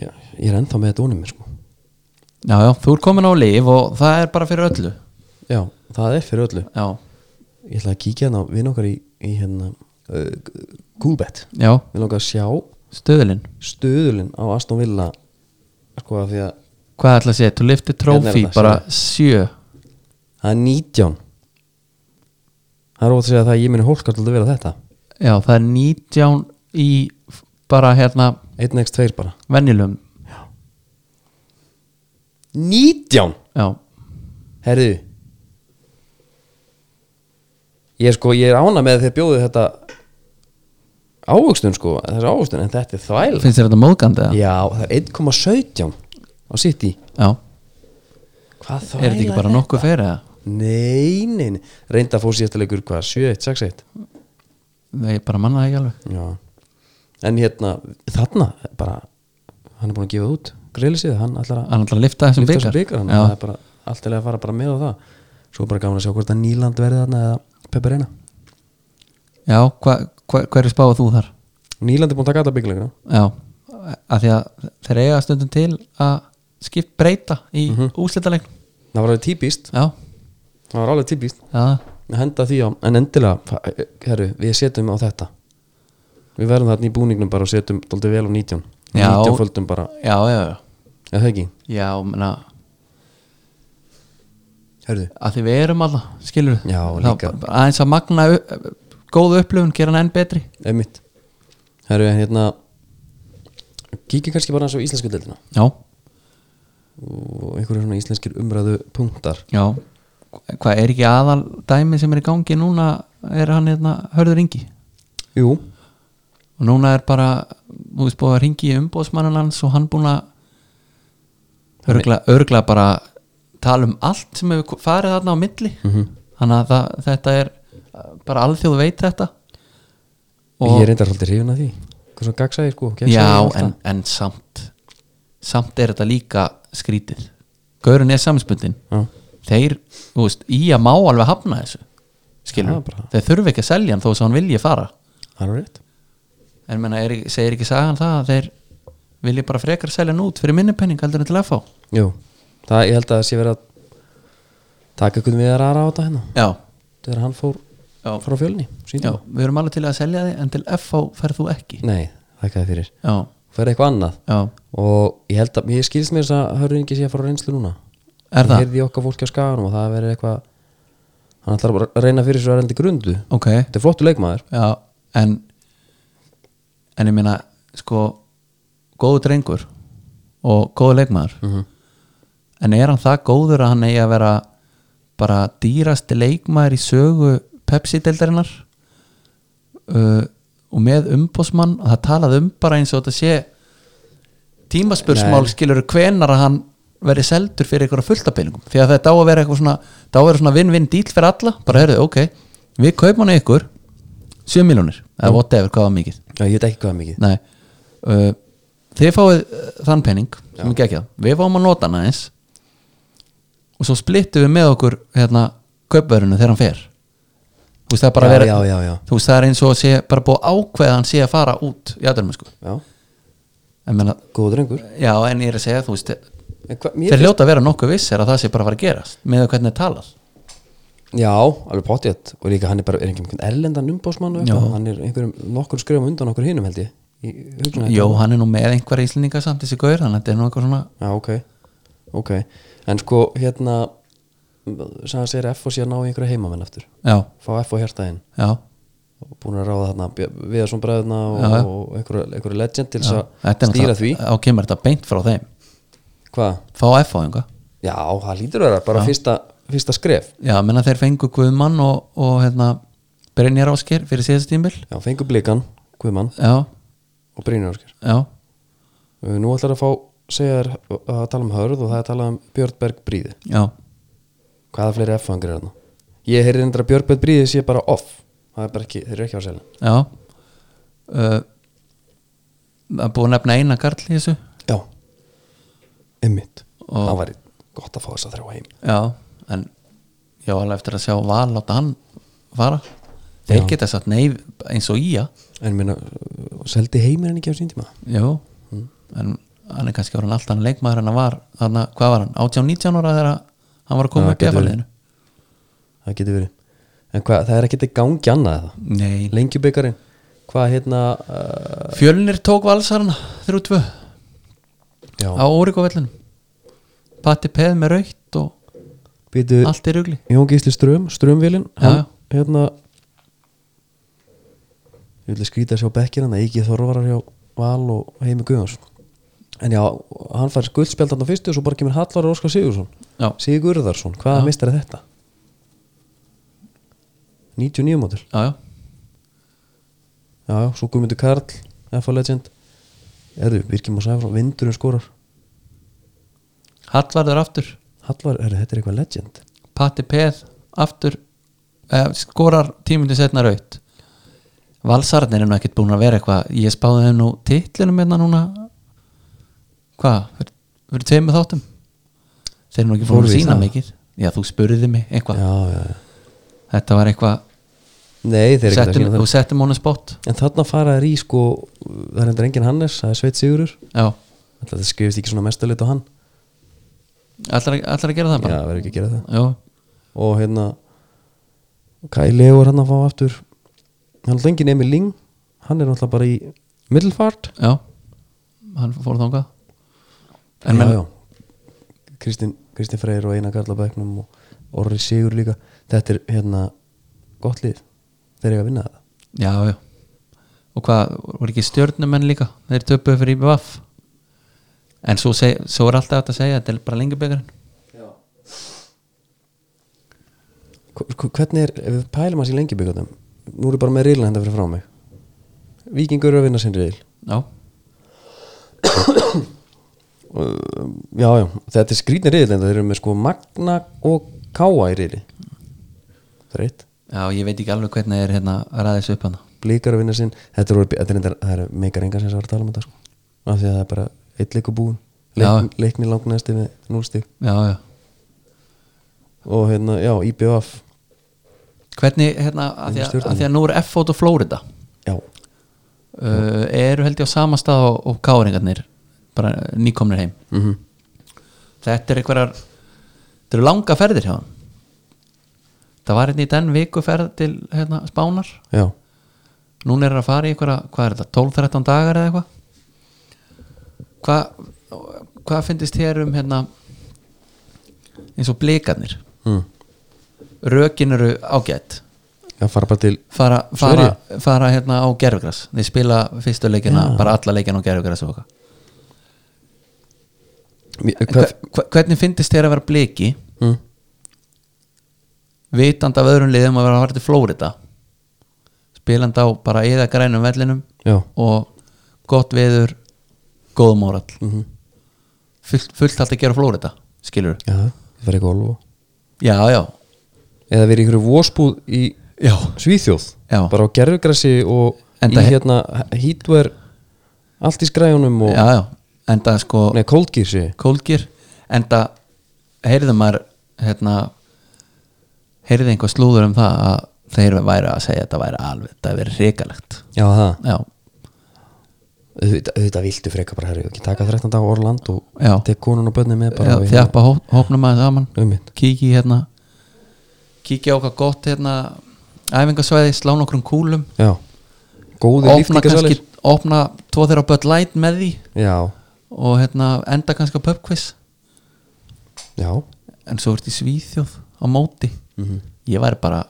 [SPEAKER 1] já, ég er ennþá með þetta unum mér sko
[SPEAKER 2] Já, já, þú ert komin á lif og það er bara fyrir öllu
[SPEAKER 1] já, það er fyrir öllu
[SPEAKER 2] Já,
[SPEAKER 1] ég ætla að kíkja hérna á vinn okkar í, í hérna uh, Coolbet
[SPEAKER 2] já,
[SPEAKER 1] við langar að sjá
[SPEAKER 2] stöðlin
[SPEAKER 1] stöðulinn á Aston Villa sko af því að
[SPEAKER 2] Hvað ætla að segja, þú lifti trófi
[SPEAKER 1] Hérna er þetta,
[SPEAKER 2] bara sjö
[SPEAKER 1] það er 19 það er ótt að segja það að ég minni hólkart að vera þetta
[SPEAKER 2] Já, það er nítján í f- bara hérna
[SPEAKER 1] 1x2 bara
[SPEAKER 2] venjulegum
[SPEAKER 1] 19?
[SPEAKER 2] Já,
[SPEAKER 1] Herðu ég er sko, ég er ána með að þeir bjóðu þetta ávöxtun sko, þessi ávöxtun en þetta er þvæl
[SPEAKER 2] finnst þér þetta móðgandi eða?
[SPEAKER 1] Já, það er 1,17 á City
[SPEAKER 2] Já,
[SPEAKER 1] Hvað þá?
[SPEAKER 2] er þetta ekki bara nokkuð fyrir eða?
[SPEAKER 1] Nei, nei, nei Reynda fór síðasta leikur hvað? 7-1, 6-1
[SPEAKER 2] Nei, ég bara manna það ekki alveg
[SPEAKER 1] Já En hérna, þarna bara Hann er búin að gefa út Grillisíð, hann ætlar að
[SPEAKER 2] Hann ætla að lifta þessum
[SPEAKER 1] lyfta
[SPEAKER 2] byggar,
[SPEAKER 1] þessu bikar hann, Það
[SPEAKER 2] Já,
[SPEAKER 1] er bara allt til að fara bara með á það Svo er bara gaman að sjá hvort að Nýland verði þarna eða Pepperina
[SPEAKER 2] já hva, hva, hverju spáðu þú þar?
[SPEAKER 1] Nýland er búin að taka alltaf bygguleikina
[SPEAKER 2] Já, að því að þeir eiga stundum til að skipt breyta í mm
[SPEAKER 1] Það var alveg típist,
[SPEAKER 2] Já,
[SPEAKER 1] það var alveg típist
[SPEAKER 2] já,
[SPEAKER 1] Að Henda því á, en endilega fa- eh, Herru, við setjum á þetta Við verðum þarna í búningnum bara og setjum Dóldi vel á 19
[SPEAKER 2] Já.
[SPEAKER 1] 19 földum bara,
[SPEAKER 2] já, já, já.
[SPEAKER 1] eða það ekki
[SPEAKER 2] Já, menna
[SPEAKER 1] Herðu,
[SPEAKER 2] að því við erum alltaf, skilur
[SPEAKER 1] Já, líka.
[SPEAKER 2] aðeins að magna u- góðu upplifun, gera hann enn betri
[SPEAKER 1] einmitt Herru, en hérna Kíkja kannski bara eins á íslensku deildina
[SPEAKER 2] Já,
[SPEAKER 1] og einhverju svona íslenskir umræðu punktar
[SPEAKER 2] já Hvað er ekki aðal dæmi sem er í gangi núna er hann hérna hörður ringi
[SPEAKER 1] Jú,
[SPEAKER 2] og núna er bara, þú veist búið að ringi í umbóðsmannan hans og hann búin að örgla, örgla bara tala um allt sem hefur ko- farið þarna á milli
[SPEAKER 1] Mhm.
[SPEAKER 2] þannig að það, þetta er bara alþjóð veit þetta
[SPEAKER 1] ég er reyndar svolítið hrifin að því Hvað svona gagsaði sko gegnsæi
[SPEAKER 2] Já,
[SPEAKER 1] og allt
[SPEAKER 2] en,
[SPEAKER 1] það.
[SPEAKER 2] en samt samt er þetta líka skrítið Gaurinn er samspundin
[SPEAKER 1] Já,
[SPEAKER 2] þeir, þú veist, í að má alveg hafna þessu
[SPEAKER 1] Já,
[SPEAKER 2] skilur,
[SPEAKER 1] bara.
[SPEAKER 2] þeir þurfi ekki að selja hann þó sem hann vilji fara
[SPEAKER 1] það er rétt
[SPEAKER 2] en menna, er, segir ekki sagan það að þeir vilji bara frekar selja hann út fyrir minni penning heldur en til FH
[SPEAKER 1] Jú, það, ég held að það sé verið að taka einhvern við að rara á þetta hérna
[SPEAKER 2] Já,
[SPEAKER 1] þegar hann fór
[SPEAKER 2] já,
[SPEAKER 1] frá fjölni Mm.
[SPEAKER 2] já, við erum alveg til að selja þig en til FH ferð þú ekki
[SPEAKER 1] Nei, þakkaði fyrir
[SPEAKER 2] Já,
[SPEAKER 1] fer eitthvað annað
[SPEAKER 2] já,
[SPEAKER 1] og ég held að, ég skilst mér þess að hörringi sé að fara á reynslu núna
[SPEAKER 2] er
[SPEAKER 1] Ég
[SPEAKER 2] það?
[SPEAKER 1] heyrði í okkar fólki á skaganum og það verið eitthvað hann ætlar bara að reyna fyrir svo að reynda grundu
[SPEAKER 2] ok,
[SPEAKER 1] þetta er flottu leikmaður
[SPEAKER 2] já, en en ég meina sko, góðu drengur og góðu leikmaður
[SPEAKER 1] mm
[SPEAKER 2] en er hann það góður að hann eigi að vera bara dýrasti leikmaður í sögu Pepsi-deildarinnar uh, og með umbósmann og það talað um bara eins og þetta sé tímaspursmál
[SPEAKER 1] Nei.
[SPEAKER 2] skilur hvenar að hann veri seldur fyrir einhverja fulltapinningum því að þetta á að vera eitthvað svona þetta á að vera svona vinn-vinn díl fyrir alla bara heyrðu, ok, við kaupum hann ykkur 7 miljónir, eða whatever, hvað var mikið
[SPEAKER 1] já, ég veit ekki hvað mikið
[SPEAKER 2] Nei uh, Þið fáið uh, þann penning sem ekki ekki það, við fáum að nota hann aðeins og svo splittum við með okkur hérna kaupverðinu þegar hann fer Þú veist það er bara
[SPEAKER 1] já,
[SPEAKER 2] að vera
[SPEAKER 1] já, já, já,
[SPEAKER 2] Þú veist það er eins og sé bara búið að ákveða að hann sé að fara út í aðdælum sko
[SPEAKER 1] já,
[SPEAKER 2] en menna,
[SPEAKER 1] góður drengur
[SPEAKER 2] Já en ég er að segja þú veist
[SPEAKER 1] En hva,
[SPEAKER 2] þeir
[SPEAKER 1] mér,
[SPEAKER 2] hljóta að vera nokkuð vissir að það sé bara að fara að gerast með að hvernig er talað
[SPEAKER 1] já, alveg pottjætt og líka hann er bara, er ekki einhvern erlendan umbásmann
[SPEAKER 2] Já.
[SPEAKER 1] hann er einhverjum nokkur skrifum undan okkur hinum held ég í hugsunarhætti.
[SPEAKER 2] Jó hann er nú með einhverja íslendinga samt þessi gaur þannig að þetta er nú eitthvað svona
[SPEAKER 1] já, ok, ok en sko, hérna sagði sér F og sé að ná í einhverja heimamenn aftur
[SPEAKER 2] Já,
[SPEAKER 1] fá F og hjartaðinn
[SPEAKER 2] já,
[SPEAKER 1] og búin að ráða þarna Björn- Viðarsson bræðina og,
[SPEAKER 2] Já, já.
[SPEAKER 1] og einhverju, einhverju legend til
[SPEAKER 2] já.
[SPEAKER 1] þess
[SPEAKER 2] Þetta
[SPEAKER 1] að
[SPEAKER 2] er
[SPEAKER 1] stýra
[SPEAKER 2] náttúrulega-
[SPEAKER 1] því
[SPEAKER 2] Þá kemur þetta beint frá þeim
[SPEAKER 1] hvað?
[SPEAKER 2] fá F-fáðinga
[SPEAKER 1] Já, það lítur að vera bara fyrsta, fyrsta skref
[SPEAKER 2] já, menna þeir fengu Guðmann og, og hérna, Brynjar Ásker fyrir síðast tímil
[SPEAKER 1] Já, fengur blikan, Guðmann
[SPEAKER 2] já,
[SPEAKER 1] og Brynjar Óskar
[SPEAKER 2] já,
[SPEAKER 1] Uh, Nú ætlar að fá, segja þér að tala um hörð og það er að tala um Björnberg Bríði
[SPEAKER 2] já
[SPEAKER 1] Hvaða fleiri F-fangir er þarna? Ég heyrði endur að Björnberg Bríði sé bara off Það er bara ekki, þeir eru ekki á selin
[SPEAKER 2] já uh, það er búið að nefna eina karl í þessu
[SPEAKER 1] Já, einmitt
[SPEAKER 2] Og-
[SPEAKER 1] Það væri gott að fá þess að þrjá heim
[SPEAKER 2] já, en já, alveg eftir að sjá val láta hann fara þeir
[SPEAKER 1] Já.
[SPEAKER 2] geta satt neyf eins og ía
[SPEAKER 1] En minna, seldi heimir en ekki á sín tíma
[SPEAKER 2] já,
[SPEAKER 1] Mm.
[SPEAKER 2] en hann er kannski orðin allt hann leikmaður en hann var, hann, hvað var hann 18-19 ára þegar hann var að koma
[SPEAKER 1] Já,
[SPEAKER 2] upp í
[SPEAKER 1] getur verið.
[SPEAKER 2] efaliðinu
[SPEAKER 1] Það getur verið En hvað, það er ekki þetta gangi annað eða?
[SPEAKER 2] nei,
[SPEAKER 1] Lengjubikarinn, hvað hérna uh,
[SPEAKER 2] fjölnir tók valsarna 3-2
[SPEAKER 1] Já,
[SPEAKER 2] á Órikóvellinu Patti Peð með raukt og
[SPEAKER 1] býtu
[SPEAKER 2] allt í rugli
[SPEAKER 1] Jón Gísli Ström, Strömvélin
[SPEAKER 2] Já,
[SPEAKER 1] hann, hérna ég vil skrýta að sjá bekkin hann að ekki þorvarar hjá Val og Heimi Guðjóns en já, hann fær guldspjald hann á fyrstu og svo bara kemur Hallar og Óskar Sigursson
[SPEAKER 2] Já,
[SPEAKER 1] Sigurðarsson, hvaða mistar er þetta? 99 mótur
[SPEAKER 2] já, já,
[SPEAKER 1] já, já, svo Guðmundur Karl, FA Legend erðu, Birgir Már Sæfrón, Vindurinn skorar
[SPEAKER 2] Hallvarður aftur
[SPEAKER 1] Hallar, erðu, þetta er eitthvað legend
[SPEAKER 2] Patti Peð aftur eh, skorar tímundi setna raukt Valsarnir er nú ekkert búin að vera eitthvað ég spáði þeim nú titlunum hérna núna hvað, fyrir, fyrir tveimur þáttum þeir eru nú ekki búin
[SPEAKER 1] Fóru
[SPEAKER 2] að
[SPEAKER 1] við í
[SPEAKER 2] sína
[SPEAKER 1] það?
[SPEAKER 2] mikið já, þú spurði mig eitthvað
[SPEAKER 1] já, já, já
[SPEAKER 2] þetta var eitthvað
[SPEAKER 1] Nei, þeir eru ekki að
[SPEAKER 2] settum,
[SPEAKER 1] sýna
[SPEAKER 2] þú
[SPEAKER 1] það
[SPEAKER 2] settum honum spott
[SPEAKER 1] En þarna fara þær í sko Það er endur engin Hannes, það er Sveit Sigurur
[SPEAKER 2] já,
[SPEAKER 1] Þetta skrifist ekki svona mestaleit á hann
[SPEAKER 2] allar, allar að gera það
[SPEAKER 1] Já,
[SPEAKER 2] bara
[SPEAKER 1] það verður ekki að gera það
[SPEAKER 2] já,
[SPEAKER 1] Og hérna Kæli er hann að fá aftur Hann er engin Emil Ling Hann er náttúrulega bara í Middlefart
[SPEAKER 2] Já, hann fór þangað En
[SPEAKER 1] já,
[SPEAKER 2] menn,
[SPEAKER 1] já. Kristín, Kristín Freyr og Einar Karla Bæknum og Orri Sigur líka Þetta er hérna gott lið Þeir eru að vinna þetta
[SPEAKER 2] já, já Og hvað, voru ekki stjörnumenn líka Þeir töpuðu fyrir IBVF En svo, seg, svo er alltaf hægt að segja Þetta er bara lengjubikarinn
[SPEAKER 1] Hv- hv- Hvernig er, ef við pælum hans í lengi byggandum Nú er ég bara með reyla henda fyrir frá mig Víkingur eru að vinna sinn reyl
[SPEAKER 2] Já,
[SPEAKER 1] um, Já, já, þetta er skrýtni riðil en það eru með sko Magna og Káa í riðli Það er eitt
[SPEAKER 2] já, ég veit ekki alveg hvernig er hérna að ræða þessu upp hana
[SPEAKER 1] Blíkar að vinna sinn Þetta er, orðið- þetta er, reyndar- það er meikar enga sem þess að vera að tala um þetta sko. af því að það er bara eitt leik og búin Leik, Leikni langnæsti með núlstig
[SPEAKER 2] Já, já
[SPEAKER 1] og hérna, já, IBF
[SPEAKER 2] Hvernig, hérna, að því að,
[SPEAKER 1] Stjörnumenn.
[SPEAKER 2] að, því að nú er F-fót og Flórida
[SPEAKER 1] Já,
[SPEAKER 2] uh, Eru held ég á sama stað og, og káringarnir Bara nýkomnir heim
[SPEAKER 1] mm
[SPEAKER 2] þetta er einhverjar þetta eru langa ferðir hjá hann það var hérna í den viku ferð til hérna, spánar
[SPEAKER 1] já
[SPEAKER 2] núna er það að fara í einhverja, hvað er þetta, 12-13 dagar eða eitthvað hvað hva finnist hér um hérna eins og blikarnir
[SPEAKER 1] mm.
[SPEAKER 2] rökin eru ágætt
[SPEAKER 1] Já, fara bara til
[SPEAKER 2] fara, fara, fara hérna á gerfugras þeir spila fyrstu leikina, bara alla leikina á gerfugras og eitthvað En
[SPEAKER 1] Hvað
[SPEAKER 2] hve- hve- hvernig finnist þér að vera bliki
[SPEAKER 1] mm.
[SPEAKER 2] vitandi af öðrum liðum að vera að fara til Flórida spilandi á bara eða grænum vellinum
[SPEAKER 1] Já,
[SPEAKER 2] og gott veður góð mórall
[SPEAKER 1] Mhm.
[SPEAKER 2] fullt, fullt allt að gera á Flórida skilur
[SPEAKER 1] já, það er eitthvað olfa
[SPEAKER 2] já, já,
[SPEAKER 1] Eða verið í einhverju vósbúð í
[SPEAKER 2] já
[SPEAKER 1] Svíþjóð
[SPEAKER 2] Já.
[SPEAKER 1] Bara á gerfugrassi og
[SPEAKER 2] Enda
[SPEAKER 1] í
[SPEAKER 2] he-
[SPEAKER 1] hérna hítver allt í skræjunum og
[SPEAKER 2] já, já, enda sko
[SPEAKER 1] Nei, kóldgísi
[SPEAKER 2] kólgir enda heyrðu maður hérna heyrðu einhver slúður um það að þeir væri að segja að þetta væri alveg þetta væri hrikalegt
[SPEAKER 1] Já, það
[SPEAKER 2] já,
[SPEAKER 1] auðvitað, auðvitað viltu freka bara herri ekki taka 13 dag Orland og
[SPEAKER 2] Já.
[SPEAKER 1] tek konun og bönni með bara hérna.
[SPEAKER 2] já þjapa hó, hópnum aðeins saman
[SPEAKER 1] um mitt
[SPEAKER 2] kíkja í hérna kíkja á okkar gott hérna æfingasvæði, slá nokkrum kúlum
[SPEAKER 1] já góði
[SPEAKER 2] opna
[SPEAKER 1] líftingasalir
[SPEAKER 2] kannski, opna tvo þeirra börn light með því
[SPEAKER 1] já,
[SPEAKER 2] og hérna enda kannski á pubquiz
[SPEAKER 1] já,
[SPEAKER 2] en svo ert í Svíþjóð á móti
[SPEAKER 1] Mhm.
[SPEAKER 2] ég væri bara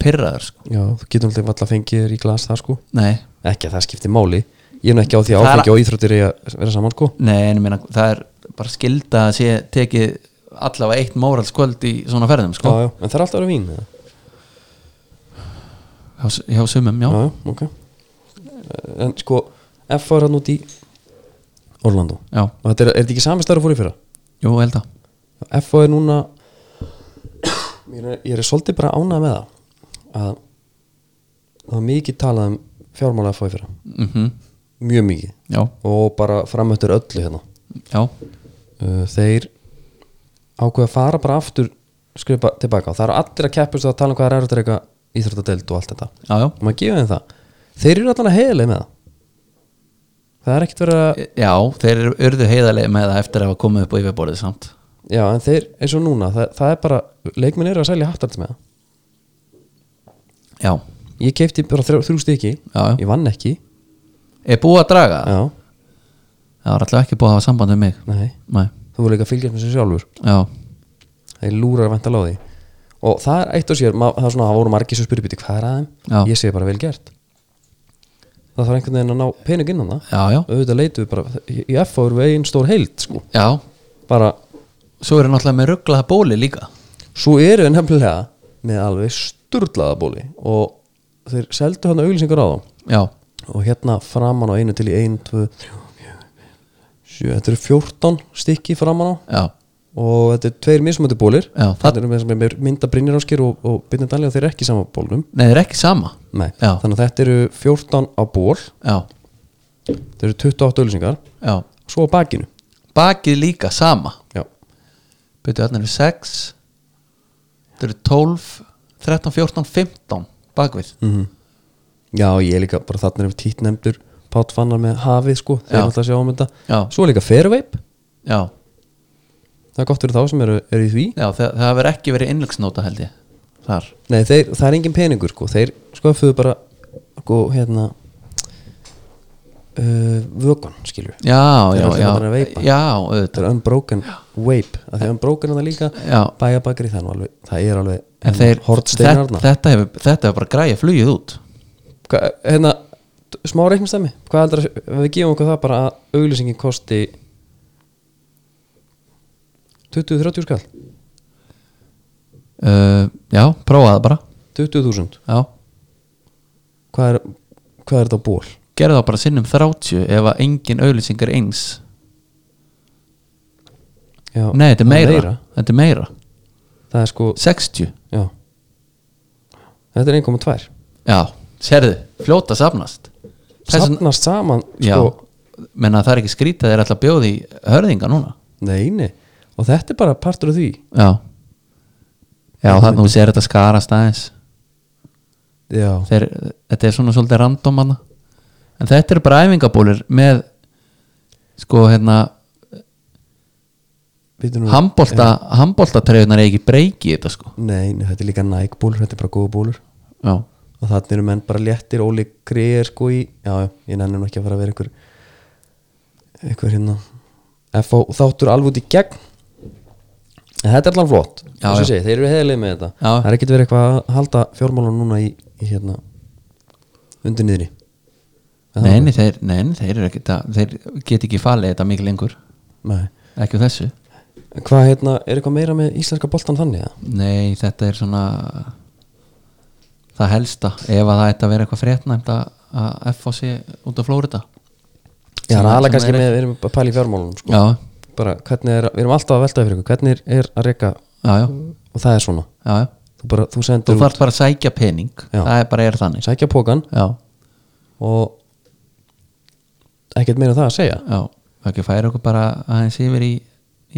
[SPEAKER 2] pyrraður sko
[SPEAKER 1] já þú getur alltaf alltaf fengið þér í glas það sko
[SPEAKER 2] nei,
[SPEAKER 1] ekki að það skipti máli ég er nú ekki á því að
[SPEAKER 2] Það er-
[SPEAKER 1] áfengi og íþróttir er að vera saman sko
[SPEAKER 2] nei en ég meina, það er bara skilda að sé tekið allavega eitt móralskvöld í svona ferðum
[SPEAKER 1] já,
[SPEAKER 2] sko
[SPEAKER 1] já, en það er alltaf að vera vín eða?
[SPEAKER 2] hjá, s- hjá sumum, já,
[SPEAKER 1] já, já, ok en sko, F var hann út í Orlando
[SPEAKER 2] já,
[SPEAKER 1] og þetta er, er þetta ekki samistæður að fór í fyrra?
[SPEAKER 2] jú, held að
[SPEAKER 1] FO er núna ég er, ég er svolítið bara ánað með það að það er mikið talað um fjármála FO í fyrra
[SPEAKER 2] mm
[SPEAKER 1] mjög mikið
[SPEAKER 2] já,
[SPEAKER 1] og bara framöttur öllu hérna
[SPEAKER 2] já,
[SPEAKER 1] Uh, þeir ákveða að fara bara aftur skrifa tilbaka og það eru allir að keppast og að tala um hvað er erfitt að reyka íþróttadeild og allt þetta
[SPEAKER 2] já, já
[SPEAKER 1] og maður gefið þeim það þeir eru allan að heiðlega með það það er ekkert verið að
[SPEAKER 2] já, þeir eru urðu heiðarlega með það eftir að hafa komið upp á yfirborðið samt
[SPEAKER 1] já en þeir eins og núna það, það er bara leikminn eru að selja hattalt með það
[SPEAKER 2] já,
[SPEAKER 1] ég keipti bara þrjá, þrjú stiki
[SPEAKER 2] já, já,
[SPEAKER 1] ég vann ekki
[SPEAKER 2] er búið að draga það?
[SPEAKER 1] já,
[SPEAKER 2] það var allavega ekki búið að hafa samband við mig
[SPEAKER 1] nei,
[SPEAKER 2] nei,
[SPEAKER 1] þú voru líka að fylgjast með sér sjálfur
[SPEAKER 2] já,
[SPEAKER 1] þeir lúrar að vænta á því og það er eitt og sér, ma- það, er svona, það voru margir sem spyrir býti hvað er
[SPEAKER 2] Já.
[SPEAKER 1] aðeim, ég segi bara vel gert það þarf einhvern veginn að ná pening innan það,
[SPEAKER 2] já, já,
[SPEAKER 1] auðvitað leitum við bara í í F voru við einn stór heild sko.
[SPEAKER 2] já
[SPEAKER 1] bara,
[SPEAKER 2] svo eru náttúrulega með rugglaða bóli líka
[SPEAKER 1] svo eru við nefnilega með alveg sturlaða bóli og þeir seldu hann auglýsingar á þá
[SPEAKER 2] já,
[SPEAKER 1] og hérna framan á einu til í einu, tvö, þrjú, fjögur, sjö þetta eru 14 stykki framan á
[SPEAKER 2] já,
[SPEAKER 1] og þetta er tveir mismöndi bólir
[SPEAKER 2] Já, það-
[SPEAKER 1] þetta er með, sem er með mynda Brynjar Áskir og, og Byrnir Dalí og þeir eru ekki í sama bólnum
[SPEAKER 2] nei, þeir eru ekki sama
[SPEAKER 1] Nei.
[SPEAKER 2] Já.
[SPEAKER 1] þannig að þetta eru 14 á ból
[SPEAKER 2] já,
[SPEAKER 1] þetta eru 28 ölsingar
[SPEAKER 2] já,
[SPEAKER 1] svo á bakinu
[SPEAKER 2] bakið líka sama
[SPEAKER 1] já,
[SPEAKER 2] byrjuðu þarna eru 6 það eru 12 13, 14, 15 bakvið
[SPEAKER 1] já ég er líka bara þarna erum títt nefndur Pátt Fannar með hafið sko þeir
[SPEAKER 2] Já.
[SPEAKER 1] eru alltaf að sjá um þetta
[SPEAKER 2] já,
[SPEAKER 1] svo er líka Fairvape,
[SPEAKER 2] já,
[SPEAKER 1] það er gott fyrir þá sem eru, eru í því
[SPEAKER 2] já það, það hefur ekki verið innlöksnóta held ég þar,
[SPEAKER 1] Nei, þeir, það er engin peningur sko þeir sköffuðu bara sko, hérna uh, vökan skilur
[SPEAKER 2] já,
[SPEAKER 1] Þeir
[SPEAKER 2] já
[SPEAKER 1] eru allir
[SPEAKER 2] já,
[SPEAKER 1] farnir að veipa.
[SPEAKER 2] já, auðvitað
[SPEAKER 1] þetta er Unbroken Vape að því Unbroken er það líka
[SPEAKER 2] já,
[SPEAKER 1] bæjabakari það, er nú alveg, það er alveg hérna,
[SPEAKER 2] en þeir,
[SPEAKER 1] hortsteinar
[SPEAKER 2] þetta, þetta hefur þetta hefur bara græja flugið út
[SPEAKER 1] Hva- hérna, t- smá reiknistæmi hvað heldur að ef við gefum okkur það bara að auglýsingin kosti 20-30 skall
[SPEAKER 2] uh, já, prófa það bara
[SPEAKER 1] 20.000
[SPEAKER 2] já,
[SPEAKER 1] hvað er, hvað er þetta á ból?
[SPEAKER 2] gerðu það bara sinnum 30 ef að engin auðlýsing er eins
[SPEAKER 1] Já,
[SPEAKER 2] nei, þetta er
[SPEAKER 1] það
[SPEAKER 2] meira, þetta er meira
[SPEAKER 1] það er sko,
[SPEAKER 2] 60,
[SPEAKER 1] já þetta er 1,2
[SPEAKER 2] já, sérðu fljóta safnast Þess vegna-
[SPEAKER 1] safnast saman
[SPEAKER 2] Já,
[SPEAKER 1] sko,
[SPEAKER 2] menna það er ekki skrítið þeir ætla að bjóða í hörðinga núna
[SPEAKER 1] nei, nei og þetta er bara partur af því
[SPEAKER 2] Já Já, það nú sér þetta skarast aðeins
[SPEAKER 1] já,
[SPEAKER 2] þeir, Þetta er svona svolítið random hana. En þetta eru bara æfingabólir með sko hérna
[SPEAKER 1] býtu nú
[SPEAKER 2] handbolta, handboltatreyðunar er ekki breyki þetta sko
[SPEAKER 1] nei, nei, þetta er líka Nike bólur, þetta er bara góða bólur
[SPEAKER 2] Já,
[SPEAKER 1] og þannig eru menn bara léttir Óli Greer sko í, já, já, ég nenni nú ekki að fara að vera einhver einhver hérna FH þáttur alveg út í gegn en þetta er allan flott
[SPEAKER 2] Já,
[SPEAKER 1] já,
[SPEAKER 2] já.
[SPEAKER 1] Sé, þeir eru heiðileg með þetta
[SPEAKER 2] Já.
[SPEAKER 1] það er ekkert verið eitthvað að halda fjármálan núna í, í hérna undir niðri Er það
[SPEAKER 2] neini, þeir, neini, þeir, eru ekki, það, þeir get ekki falið þetta mikið lengur
[SPEAKER 1] Nei.
[SPEAKER 2] ekki úr þessu
[SPEAKER 1] hvað hérna, er eitthvað meira með íslenska boltan þannig að
[SPEAKER 2] Nei, þetta er svona það helsta ef að það ætti að vera eitthvað fréttnæmt að- að F.O. sé út af Flórida
[SPEAKER 1] Já,
[SPEAKER 2] Sem-
[SPEAKER 1] það er alveg
[SPEAKER 2] sem
[SPEAKER 1] kannski
[SPEAKER 2] er-
[SPEAKER 1] með, við erum að pæla í fjármálunum sko.
[SPEAKER 2] Já,
[SPEAKER 1] bara, hvernig er, við erum alltaf að velta fyrir ykkur hvernig er að reyka,
[SPEAKER 2] já, já,
[SPEAKER 1] og það er svona
[SPEAKER 2] já, já.
[SPEAKER 1] þú, bara, þú
[SPEAKER 2] Þú
[SPEAKER 1] sendur
[SPEAKER 2] þarf bara að sækja pening
[SPEAKER 1] Já.
[SPEAKER 2] það er bara er þannig
[SPEAKER 1] út, sækja pókan
[SPEAKER 2] Já,
[SPEAKER 1] og ekkert meira um það að segja
[SPEAKER 2] já, það ekki færa okkur bara aðeins yfir í,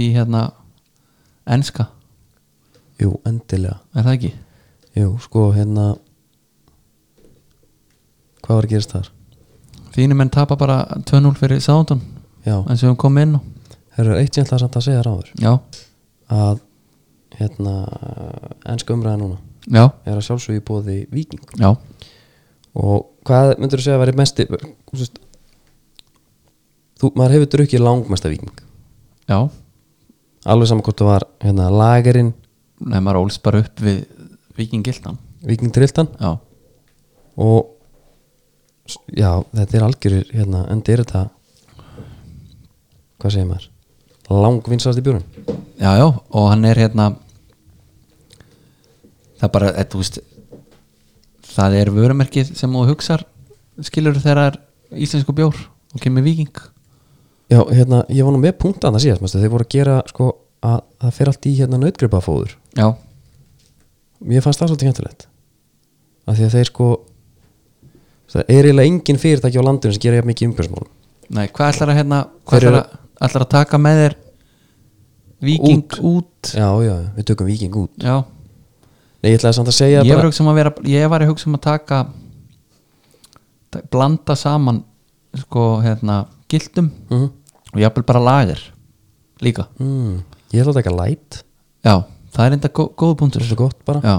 [SPEAKER 2] í hérna enska,
[SPEAKER 1] Jú, endilega
[SPEAKER 2] er það ekki?
[SPEAKER 1] Jú, sko, hérna hvað var að gerast þar?
[SPEAKER 2] Þínu menn tapa bara 2-0 fyrir Sándon
[SPEAKER 1] Já,
[SPEAKER 2] eins og við komum inn og
[SPEAKER 1] það eru eitt sem ég ætlaði samt að segja ráður
[SPEAKER 2] Já,
[SPEAKER 1] að, hérna enska umræða núna
[SPEAKER 2] já,
[SPEAKER 1] er að sjálfsögja bóði viking
[SPEAKER 2] já
[SPEAKER 1] og hvað myndur þú segja að veri mesti þú veist þú, maður hefur drukkið langmesta viking
[SPEAKER 2] Já,
[SPEAKER 1] alveg saman hvort það var hérna lagerinn,
[SPEAKER 2] nefnir maður ólst bara upp við vikingildan
[SPEAKER 1] viking triltan
[SPEAKER 2] Já,
[SPEAKER 1] og s- já, þetta er algjörir hérna, enda er þetta hvað segir maður langvinsast í björun
[SPEAKER 2] Já, já, og hann er hérna það er bara, eða, þú veist það er vörumerkið sem þú hugsar skilur þegar það er íslensku bjór og kemur viking
[SPEAKER 1] já, hérna, ég var nú með punkt annað síðast manstu, þeir voru að gera sko að það fer allt í hérna nautgripafóður
[SPEAKER 2] Já,
[SPEAKER 1] mér fannst það svolítið hættulegt af því að þeir sko það er eiginlega engin fyrirtæki á landinu sem gera jafn mikið umhverfsmálum
[SPEAKER 2] nei, hvað ætlar að hérna hvað
[SPEAKER 1] Þeir
[SPEAKER 2] ætlar
[SPEAKER 1] eru-
[SPEAKER 2] að, ætlar að taka með þér viking út,
[SPEAKER 1] já, já, já, við tökum viking út
[SPEAKER 2] Já,
[SPEAKER 1] Nei, ég ætlaði samt að segja
[SPEAKER 2] ég var,
[SPEAKER 1] bara,
[SPEAKER 2] að hugsa um að vera, ég var að hugsa um að taka ta- blanda saman sko, hérna, gildum
[SPEAKER 1] Mhm.
[SPEAKER 2] og jafnvel bara lager líka,
[SPEAKER 1] mm, ég ætlaði að taka light
[SPEAKER 2] já, það er enda gó, góð
[SPEAKER 1] það
[SPEAKER 2] punktur
[SPEAKER 1] er svo gott bara
[SPEAKER 2] Já,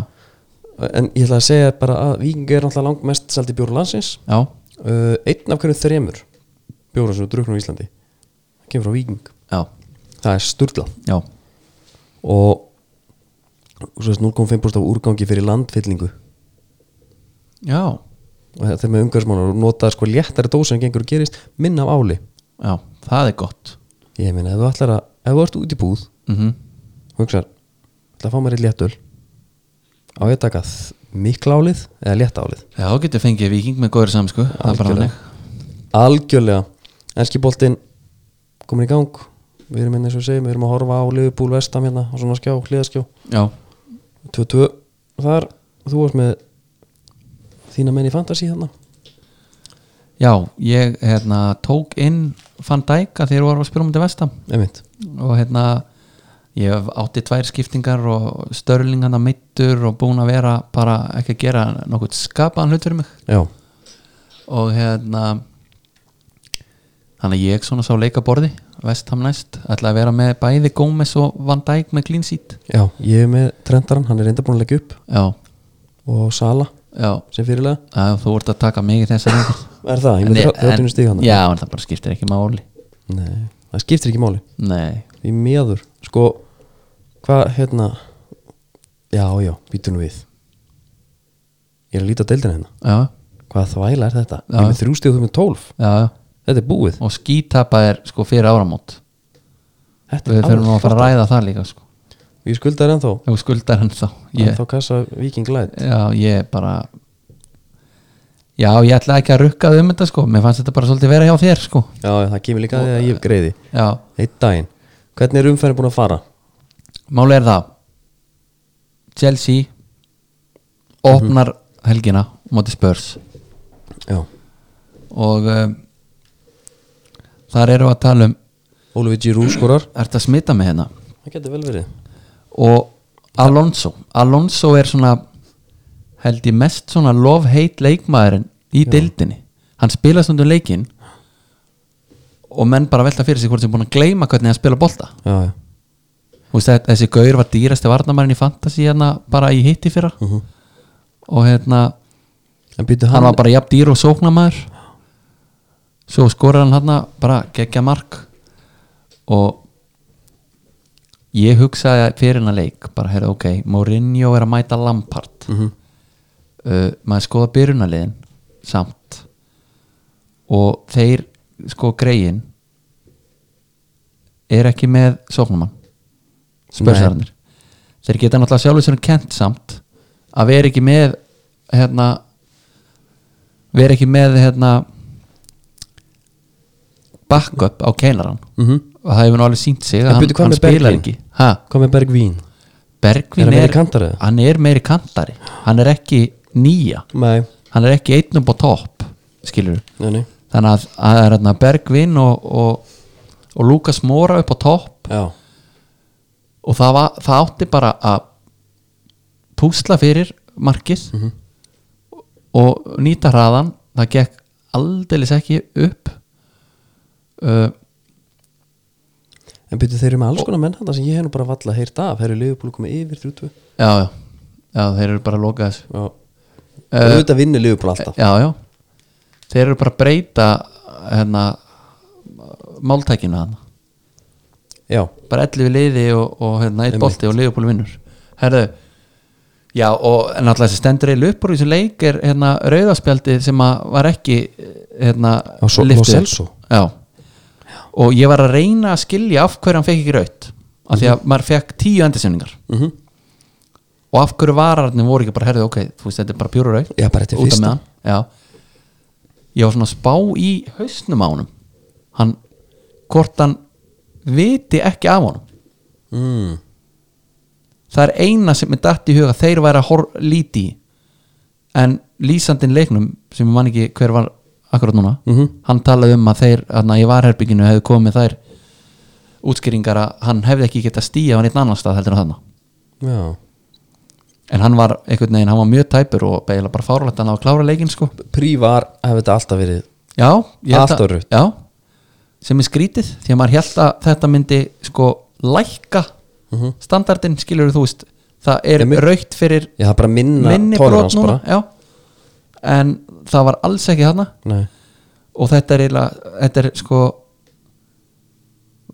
[SPEAKER 1] en ég ætlaði að segja bara að viking er náttúrulega langmest seldi bjóru landsins
[SPEAKER 2] já,
[SPEAKER 1] uh, einn af hverjum þremur bjóru sem við druknum á Íslandi það kemur frá viking,
[SPEAKER 2] já,
[SPEAKER 1] það er sturglað
[SPEAKER 2] já
[SPEAKER 1] og og svo veist 0,5% af úrgangi fyrir landfyllingu
[SPEAKER 2] Já,
[SPEAKER 1] og þetta er með umhverfsmálar og notaði sko léttari dósa en gengur og gerist minna af áli
[SPEAKER 2] já, það er gott
[SPEAKER 1] ég meina ef þú ætlar að, ef þú ert út í búð
[SPEAKER 2] mm
[SPEAKER 1] og hugsar, ætla að fá mér í léttul á ég að taka þ- mikla álið eða létta álið
[SPEAKER 2] Já, þú getur fengið viking með góður samsku Það er bara
[SPEAKER 1] Algjörlega.
[SPEAKER 2] þannig
[SPEAKER 1] algjörlega enski boltinn komin í gang við erum hérna eins og við segjum, við erum að horfa á Liverpool vestam hérna á svona skjá, hliðaskjá
[SPEAKER 2] Já,
[SPEAKER 1] 2-2 þar, þú varst með þína menn í fantasy hérna
[SPEAKER 2] já, ég hérna, tók inn Fann Dæk að þér voru að spila um þetta vestam
[SPEAKER 1] einmitt,
[SPEAKER 2] og hérna ég hef átti tvær skiptingar og störlingana meittur og búin að vera bara ekki að gera nokkuð skapaðan hlut fyrir mig
[SPEAKER 1] já,
[SPEAKER 2] og hérna þannig að ég svona sá leikaborði vestam næst, ætla að vera með bæði Gómez og Van Dijk með clean seat
[SPEAKER 1] já, ég er með trendaran hann er reynda búin að leggja upp
[SPEAKER 2] Já,
[SPEAKER 1] og Sala
[SPEAKER 2] já,
[SPEAKER 1] sem fyrirlega
[SPEAKER 2] Já, þú ert að taka mig í þessa reyndar
[SPEAKER 1] er það, ég með 30 stíg hann
[SPEAKER 2] Já, en það bara skiptir ekki máli
[SPEAKER 1] Nei, það skiptir ekki máli
[SPEAKER 2] Nei,
[SPEAKER 1] í miður, sko hvað, hérna já, já, býtu nú við ég er að líta á deildina hérna
[SPEAKER 2] já,
[SPEAKER 1] hvað þvæla er þetta?
[SPEAKER 2] Já.
[SPEAKER 1] Ég er með þrjú stíð og þú með tólf
[SPEAKER 2] já, já
[SPEAKER 1] Þetta er búið
[SPEAKER 2] Og skítapa er sko fyrir áramót
[SPEAKER 1] Þetta
[SPEAKER 2] Við
[SPEAKER 1] er
[SPEAKER 2] þurfum að
[SPEAKER 1] alveg
[SPEAKER 2] fara að ræða það líka sko
[SPEAKER 1] fast. Ég skuldar ennþá
[SPEAKER 2] Þú skuldar hann þá ég,
[SPEAKER 1] Ennþá kassa Viking Light
[SPEAKER 2] Já, ég bara Já, ég ætla ekki að rukka þau um þetta sko Mér fannst þetta bara svolítið vera hjá þér sko
[SPEAKER 1] Já, það kemur líka að því að ég greiði
[SPEAKER 2] Já,
[SPEAKER 1] Eitt daginn Hvernig er umferðin búin að fara?
[SPEAKER 2] máli er það Chelsea opnar helgina á móti spörs
[SPEAKER 1] Já
[SPEAKER 2] og um, þar eru að tala um
[SPEAKER 1] Ólufi G. skorar
[SPEAKER 2] ert að smita með hérna
[SPEAKER 1] Það getur vel verið
[SPEAKER 2] og Alonso Alonso er svona held ég mest svona love-hate leikmaðurinn í deildinni hann spila stundum leikinn og menn bara velta fyrir sig hvort sem búin að gleyma hvernig hann spila bolta
[SPEAKER 1] Já, já
[SPEAKER 2] Þú veist, þetta- þessi gaur var dýrasti varnamærin í fantasy hérna bara í hitti fyrra og hérna
[SPEAKER 1] En býtu
[SPEAKER 2] hann
[SPEAKER 1] hann
[SPEAKER 2] var bara jafn dýr og sóknamaður svo skorar hann hann bara geggja mark og ég hugsaði fyrir hennar leik bara heyrðu ok, Mourinho er að mæta Lampard
[SPEAKER 1] mm -hmm.
[SPEAKER 2] uh, maður skoða byrjunarliðin samt og þeir sko greiðin er ekki með sóknumann spörsararnir þeir geta náttúrulega sjálfur sér kent samt að vera ekki með hérna vera ekki með hérna backup á keinaran og það hefur nú alveg sínt
[SPEAKER 1] Mhm.
[SPEAKER 2] sig
[SPEAKER 1] En
[SPEAKER 2] að hann,
[SPEAKER 1] byrju, hvað
[SPEAKER 2] hann
[SPEAKER 1] með
[SPEAKER 2] spilar
[SPEAKER 1] Bergvin?
[SPEAKER 2] ekki ha,
[SPEAKER 1] Hvað með Bergvín? Er
[SPEAKER 2] Bergvin
[SPEAKER 1] hann meiri
[SPEAKER 2] er,
[SPEAKER 1] kantari eða?
[SPEAKER 2] hann er meiri kantari hann er ekki nýja
[SPEAKER 1] Nei,
[SPEAKER 2] hann er ekki einn upp á topp skilur
[SPEAKER 1] nei, nei
[SPEAKER 2] þannig að, að er hérna Bergvin og, og, og Lukas Mora upp á topp
[SPEAKER 1] Já,
[SPEAKER 2] og það, var, það átti bara að púsla fyrir markið og nýta hraðan það gekk aldeilis ekki upp uh,
[SPEAKER 1] en byrju þeir eru með alls konar menn hann sem ég hef nú bara valla heyrt af Þeir eru Liverpool komið yfir 32
[SPEAKER 2] já, já, já, þeir eru bara að loka þessu
[SPEAKER 1] Já
[SPEAKER 2] Eh,
[SPEAKER 1] Auðvitað vinnur Liverpool alltaf
[SPEAKER 2] já, já þeir eru bara að breyta hérna máltækinu hann
[SPEAKER 1] Já,
[SPEAKER 2] bara 11 liði og, og hérna eitt
[SPEAKER 1] Einmitt.
[SPEAKER 2] bolti og liðbúli vinnur herðu já og náttúrulega þessi stendur eil upp úr í þessum leik er hérna rauðaspjaldi sem að var ekki hérna
[SPEAKER 1] Já, svo-
[SPEAKER 2] lyftið
[SPEAKER 1] Lo
[SPEAKER 2] upp.
[SPEAKER 1] Celso.
[SPEAKER 2] já. og ég var að reyna að skilja af hverju hann fekk ekki raut af því að
[SPEAKER 1] Mhm.
[SPEAKER 2] maður fekk tíu endisynningar
[SPEAKER 1] mm
[SPEAKER 2] og af hverju vararnir voru ekki bara herðu ok, þú veist þetta er bara pjóru raut
[SPEAKER 1] já bara þetta er
[SPEAKER 2] út af
[SPEAKER 1] fyrsta
[SPEAKER 2] með hann já. ég var svona að spá í hausnum á honum hann, hvort hann viti ekki af honum
[SPEAKER 1] mm.
[SPEAKER 2] það er eina sem er dætt í huga þeir væri að hor- líti í. en lýsandin leiknum sem ég man ekki hver var akkurat núna
[SPEAKER 1] Mhm.
[SPEAKER 2] hann talaði um að þeir að í varherbygginu hefðu komið þær útskýringar að hann hefði ekki getað stíja á neitt annan stað heldur en þarna
[SPEAKER 1] Já
[SPEAKER 2] en hann var einhvern veginn, hann var mjög tæpur og beila bara fárlætt að hann á að klára leikinn sko
[SPEAKER 1] Prívar hefur þetta alltaf verið
[SPEAKER 2] Já, ég held
[SPEAKER 1] Allt
[SPEAKER 2] að-
[SPEAKER 1] og rautt.
[SPEAKER 2] Já, sem er skrítið því að maður held að þetta myndi sko lækka standardin skilur þú veist, það er
[SPEAKER 1] Mhm. Einmitt.
[SPEAKER 2] raukt fyrir
[SPEAKER 1] Já, það er bara minna
[SPEAKER 2] minni brot
[SPEAKER 1] tolerance
[SPEAKER 2] núna já. en það var alls ekki þarna
[SPEAKER 1] Nei,
[SPEAKER 2] og þetta er eiginlega þetta er sko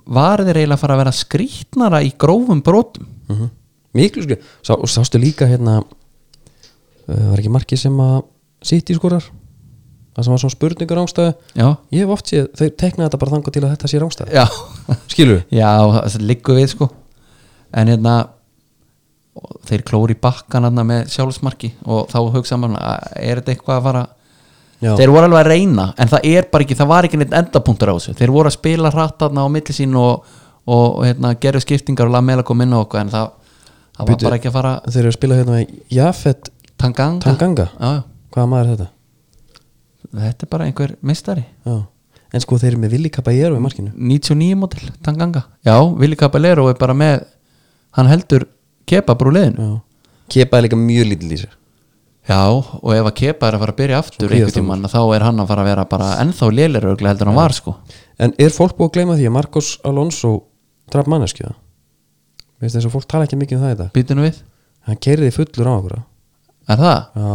[SPEAKER 2] varðir eiginlega að fara að vera skrítnara í grófum brotum
[SPEAKER 1] mm miklu sko Sá, og sástu líka hérna uh, var ekki markið sem að sitt í skorar það sem var svona spurningur ángstæðu
[SPEAKER 2] já,
[SPEAKER 1] ég hef oft séð, þau teknaði þetta bara þangað til að þetta sé rángstæðu
[SPEAKER 2] já,
[SPEAKER 1] skilur við?
[SPEAKER 2] já það liggur við sko en hérna og þeir klóri bakkan hérna með sjálfsmarki og þá hugsa mann að er þetta eitthvað að fara
[SPEAKER 1] Já,
[SPEAKER 2] þeir voru alveg að reyna en það er bara ekki, það var ekki neitt endapunktur á þessu þeir voru að spila hrattaðna á milli sín og, og, og hérna, gerðu skiptingar og laði meðlega kom inn á okkur en það, það var
[SPEAKER 1] Bíddu.
[SPEAKER 2] bara ekki að fara
[SPEAKER 1] þeir eru að spila hérna með Jafet
[SPEAKER 2] tanganga,
[SPEAKER 1] Tanganga,
[SPEAKER 2] Já, já,
[SPEAKER 1] hvaða maður er þetta?
[SPEAKER 2] þetta er bara einhver mistari
[SPEAKER 1] Já. en sko þeir eru með Willi Caballero í markinu
[SPEAKER 2] 99 model tanganga já, Willi Caballero er bara með hann heldur kepa brúliðinu já.
[SPEAKER 1] Já. Kepaði líka mjög lítil í sér
[SPEAKER 2] og ef að kepa er að fara að byrja aftur
[SPEAKER 1] Svo
[SPEAKER 2] einhvern tímann þá er hann að fara að vera bara ennþá lélir örgulega heldur en hann var sko
[SPEAKER 1] En er fólk búið að gleyma því að Marcos Alonso draf manneskjöða? Veist þess að fólk tala ekki mikið um það í dag
[SPEAKER 2] býtu nú við,
[SPEAKER 1] Hann keiriði fullur á okkur
[SPEAKER 2] er það?
[SPEAKER 1] Já,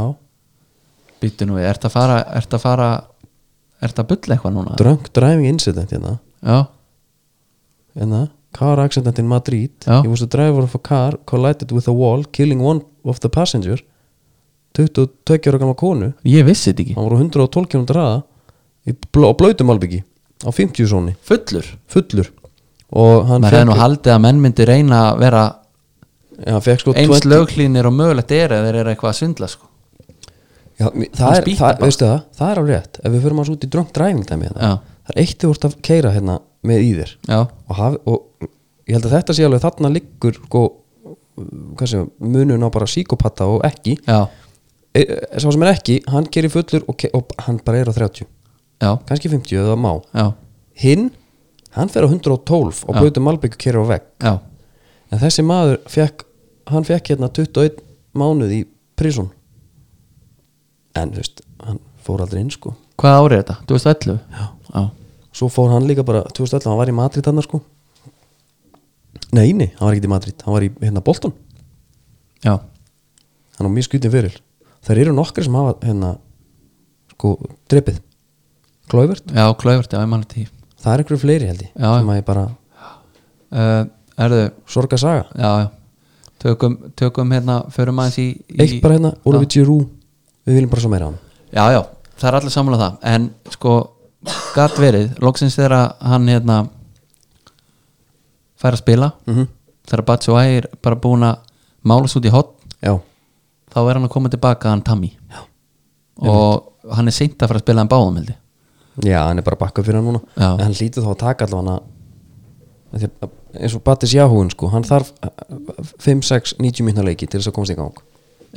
[SPEAKER 2] býtu nú við, ert að fara ert að fara, ert að bulla eitthvað núna?
[SPEAKER 1] drunk driving incident hérna
[SPEAKER 2] já,
[SPEAKER 1] hérna, car accident in Madrid
[SPEAKER 2] Já.
[SPEAKER 1] He was the driver of a car collided with a wall killing one of the passenger 22 ára gamla konu
[SPEAKER 2] ég vissi þetta ekki
[SPEAKER 1] hann voru 112 km hraða í bló, á blöytum albyggi á 50 sóni,
[SPEAKER 2] fullur,
[SPEAKER 1] fullur og hann
[SPEAKER 2] maður hefði nú
[SPEAKER 1] fékk-
[SPEAKER 2] haldið að menn myndi reyna að vera
[SPEAKER 1] Já, hann fékk sko
[SPEAKER 2] eins
[SPEAKER 1] 20
[SPEAKER 2] löglínir og mögulegt er eða þeir eru eitthvað að svindla sko
[SPEAKER 1] Já, mi-
[SPEAKER 2] Hann
[SPEAKER 1] það, er,
[SPEAKER 2] spýtti
[SPEAKER 1] það,
[SPEAKER 2] bara.
[SPEAKER 1] veistu það, það er alveg rétt ef við förum hans út í drunk driving dæmi hérna,
[SPEAKER 2] Já.
[SPEAKER 1] það er eitt þú ert að keira hérna með í þér
[SPEAKER 2] já,
[SPEAKER 1] og, haf, og ég held að þetta sé alveg þarna liggur sko, hvað sem, munun á bara psíkopatta og ekki
[SPEAKER 2] já,
[SPEAKER 1] e, e, sá sem er ekki, hann keri fullur og, ke, og hann bara er á 30,
[SPEAKER 2] já,
[SPEAKER 1] kannski 50 eða má,
[SPEAKER 2] já,
[SPEAKER 1] hinn hann fer á 112 og
[SPEAKER 2] Já.
[SPEAKER 1] blötu malbyggu keri á vegg
[SPEAKER 2] já
[SPEAKER 1] en þessi maður fekk, hann fekk hérna 21 mánuð í prísun en þú veist, hann fór aldrei inn sko
[SPEAKER 2] hvað árið þetta? 2011?
[SPEAKER 1] Já.
[SPEAKER 2] já,
[SPEAKER 1] svo fór hann líka bara 2011, hann var í Madrid hann sko nei, nei, hann var ekki í Madrid hann var í hérna Bolton,
[SPEAKER 2] já,
[SPEAKER 1] hann var mjög skutin fyrir þær eru nokkri sem hafa hérna sko, drepið Klóivert,
[SPEAKER 2] já, klaufert, já, ég mann þetta í
[SPEAKER 1] það er einhverju fleiri held ég
[SPEAKER 2] Já, já.
[SPEAKER 1] sem að ég bara
[SPEAKER 2] uh, erðu,
[SPEAKER 1] sorga saga
[SPEAKER 2] já, já tökum, tökum hérna, förum aðeins í, í
[SPEAKER 1] Eitt bara hérna, Ólafur Giroux við viljum bara svo meira á hann
[SPEAKER 2] já, já, það er allir sammála það en sko, gatt verið loksins þegar að hann hérna fær að spila
[SPEAKER 1] mm
[SPEAKER 2] þegar Batshuayi er bara búin að málas út í hot
[SPEAKER 1] Já,
[SPEAKER 2] þá er hann að koma tilbaka hann Tammy já, og hann er seint að fara að spila hann báðum heldig
[SPEAKER 1] já, hann er bara bakkað fyrir hann núna
[SPEAKER 2] Já.
[SPEAKER 1] en hann lítur þá að taka allavega hann að eins og Batis Jahúin sko, hann þarf eh, 5, 6, 90 minna leiki til þess að komast í gang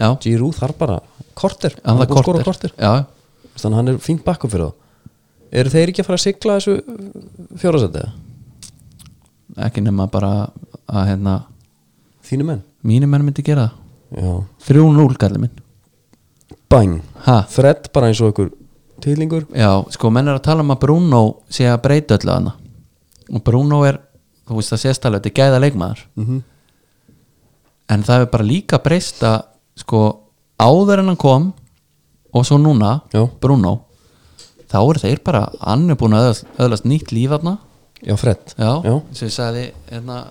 [SPEAKER 2] já,
[SPEAKER 1] Giroux þarf bara korter,
[SPEAKER 2] hann
[SPEAKER 1] er
[SPEAKER 2] það
[SPEAKER 1] búinn að skora korter.
[SPEAKER 2] kortir, Já,
[SPEAKER 1] þannig að hann er fínt bakkað fyrir þá eru þeir ekki að fara að sigla þessu fjórasætti eða?
[SPEAKER 2] ekki nema bara að hérna,
[SPEAKER 1] þínu menn
[SPEAKER 2] mínir menn myndi gera það
[SPEAKER 1] já.
[SPEAKER 2] 3-0 gallið minn
[SPEAKER 1] bang,
[SPEAKER 2] ha,
[SPEAKER 1] þredd bara eins og ykkur týlingur
[SPEAKER 2] já, sko menn er að tala um að Bruno sé að breyta öllu hana og Bruno er, þú veist það sést alveg þetta er gæða leikmaður
[SPEAKER 1] Mhm.
[SPEAKER 2] en það er bara líka breyst að sko áður en hann kom og svo núna,
[SPEAKER 1] Já.
[SPEAKER 2] Bruno þá eru þeir bara, hann er búin að öðlast, öðlast nýtt líf þarna
[SPEAKER 1] já, þredd
[SPEAKER 2] já,
[SPEAKER 1] já.
[SPEAKER 2] sem ég sagði hérna,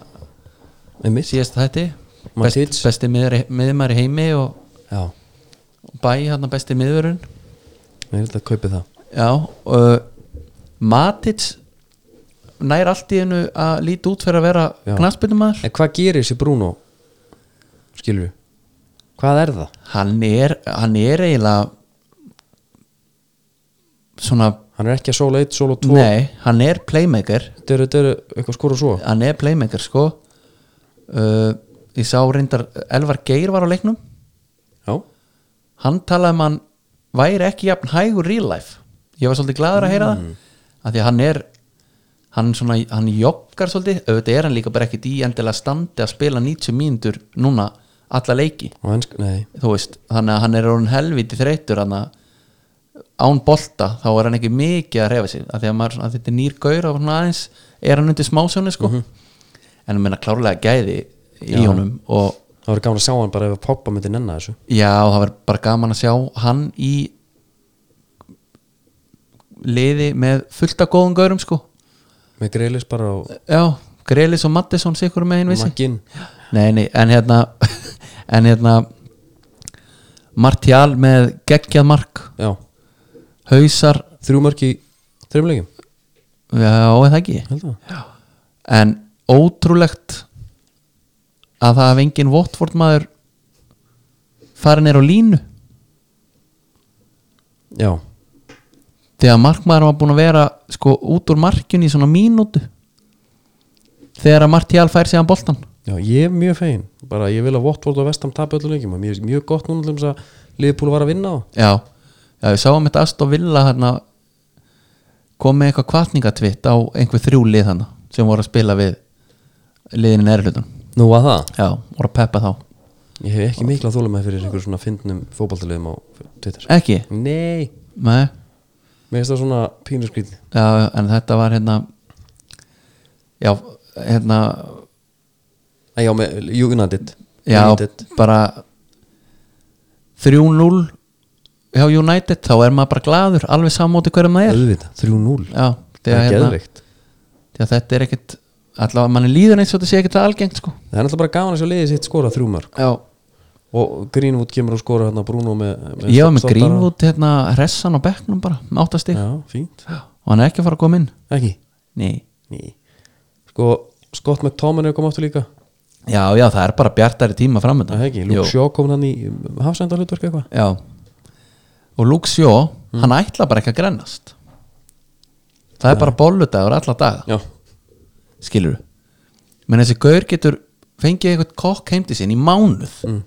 [SPEAKER 1] einmitt.
[SPEAKER 2] síðast þætti best,
[SPEAKER 1] Matic.
[SPEAKER 2] besti miðmæri heimi og,
[SPEAKER 1] já.
[SPEAKER 2] og bæ hérna besti miðvörun
[SPEAKER 1] Mér er þetta að kaupi það
[SPEAKER 2] já uh, Matic nær allt í hennu að líti út fyrir að vera
[SPEAKER 1] Já.
[SPEAKER 2] knastbyndumæður
[SPEAKER 1] En hvað gerir þessi Bruno? Skilur við? Hvað er það?
[SPEAKER 2] hann er, hann er eiginlega svona
[SPEAKER 1] Hann er ekki að sóla 1, sóla 2
[SPEAKER 2] nei, hann er playmaker
[SPEAKER 1] Dörru, dörru, eitthvað skora svo
[SPEAKER 2] hann er playmaker sko uh, ég sá reyndar Elvar Geir var á leiknum
[SPEAKER 1] Já,
[SPEAKER 2] hann talaði um að hann væri ekki jafn hægur real life ég var svolítið gladur að heyra það af því að hann er hann, svona, hann joggar svolítið auðvitað er hann líka bara ekkit í endilega standi að spila 90 mínútur núna alla leiki
[SPEAKER 1] á ennsk, nei
[SPEAKER 2] þú veist, þannig að hann er orðin helviti þreytur hann að án bolta þá er hann ekki mikið að reyfa sig af því að, maður, að þetta er nýr gaur og svona aðeins er hann undir smásjónu sko en hann meina klárlega gæði í honum og
[SPEAKER 1] Það var gaman að sjá hann bara ef að poppa myndi nenna þessu
[SPEAKER 2] Já, það var bara gaman að sjá hann í liði með fullt af góðum gaurum sko
[SPEAKER 1] Með greilis bara á
[SPEAKER 2] Já, Grelis og Mattisson sikur með einn vissi
[SPEAKER 1] makkin
[SPEAKER 2] Nei, nei, en hérna en hérna Martial með geggjað mark
[SPEAKER 1] Já,
[SPEAKER 2] Hausar,
[SPEAKER 1] þrjú mörk í þreim leikum
[SPEAKER 2] já, eða ekki
[SPEAKER 1] Held það
[SPEAKER 2] en ótrúlegt að það hafði engin Votford maður farin er á línu
[SPEAKER 1] Já,
[SPEAKER 2] þegar markmaður var búin að vera sko út úr markjun í svona mínútu þegar að Martial fær sig hann boltan
[SPEAKER 1] já, ég er mjög fegin Bara ég vil að Votvort og Vestam tapa öllu leikum og Mér er mjög gott núna til þess að liðbúlu var að vinna á
[SPEAKER 2] já, já við sáum þetta Aston Villa hérna kom með eitthvað kvartningatvitt á einhver þrjú lið hann sem voru að spila við liðinu nærlutun
[SPEAKER 1] Nú að það?
[SPEAKER 2] já, voru að peppa þá
[SPEAKER 1] Ég hef ekki mikla þóla með fyrir einhver svona fyndnum fótballtaliðum á Twitter
[SPEAKER 2] ekki,
[SPEAKER 1] Nei
[SPEAKER 2] nei,
[SPEAKER 1] Mér finnst það svona pínu skrýtni
[SPEAKER 2] já, en þetta var hérna já, hérna
[SPEAKER 1] Æ, já, með United
[SPEAKER 2] já,
[SPEAKER 1] United.
[SPEAKER 2] bara 3-0 hjá United, þá er maður bara gladur alveg sammóti hverjum það er
[SPEAKER 1] Auðvitað, 3-0
[SPEAKER 2] já,
[SPEAKER 1] Það
[SPEAKER 2] þegar,
[SPEAKER 1] er
[SPEAKER 2] hérna,
[SPEAKER 1] geðveikt
[SPEAKER 2] þegar þetta er ekkit allavega manni líður eins og þetta sé ekkit algengt sko.
[SPEAKER 1] Það er náttúrulega bara gaman að sjá liðið sitt skora þrjú mörg
[SPEAKER 2] já,
[SPEAKER 1] Og Greenwood kemur og skora hérna Bruno með, með
[SPEAKER 2] ég var með
[SPEAKER 1] stoppara.
[SPEAKER 2] Greenwood hérna, hressan á bekknum bara, máttast ykkur
[SPEAKER 1] Já, fínt
[SPEAKER 2] og hann er ekki að fara að koma inn
[SPEAKER 1] Ekki?
[SPEAKER 2] Nei.
[SPEAKER 1] Ný Sko, Scott McTomin er komið aftur líka
[SPEAKER 2] já, já, það er bara bjartari tíma framönda
[SPEAKER 1] Það er ekki, Luke Shaw kom hann í Hafsenda hlutverk eitthvað
[SPEAKER 2] já og Luke Shaw,
[SPEAKER 1] Mm.
[SPEAKER 2] hann ætla bara ekki að grennast það er bara bolludagur alla daga
[SPEAKER 1] Já,
[SPEAKER 2] skilur menn þessi gaur getur fengið eitthvað kokk heimti sín í mánuð
[SPEAKER 1] Mm.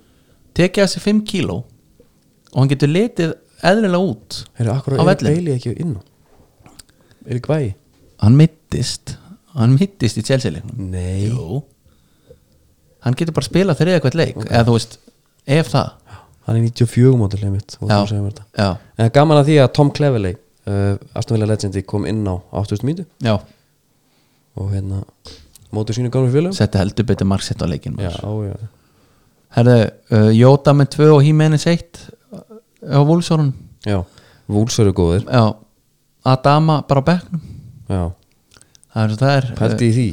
[SPEAKER 2] tekið þessi 5 kíló og hann getur litið eðlilega út
[SPEAKER 1] heyrðu, akkur
[SPEAKER 2] Á
[SPEAKER 1] er
[SPEAKER 2] vellinum.
[SPEAKER 1] Bailey ekki inn á? Er ekki vægi?
[SPEAKER 2] hann mittist hann mittist í Chelsea-leiknum
[SPEAKER 1] Nei
[SPEAKER 2] Jú. hann getur bara spilað þriða hvert leik eða þú veist, ef það
[SPEAKER 1] Hann er 94 mótilega mitt og þú
[SPEAKER 2] já,
[SPEAKER 1] segir mér þetta
[SPEAKER 2] já,
[SPEAKER 1] En gaman að því að Tom Cleverley uh, Aston Villa Legendi kom inn á 8000 mínu
[SPEAKER 2] já.
[SPEAKER 1] og hérna mótið sínu gamlu félögum
[SPEAKER 2] setti heldur betur marksitt á leikin
[SPEAKER 1] já, já,
[SPEAKER 2] herðu, uh, Jóta með 2 og Hímenis 1 uh, á Vúlsórun
[SPEAKER 1] já Vúls eru góðir
[SPEAKER 2] já, Adama bara á bekknum
[SPEAKER 1] já,
[SPEAKER 2] það er eins og það er uh,
[SPEAKER 1] pælti í því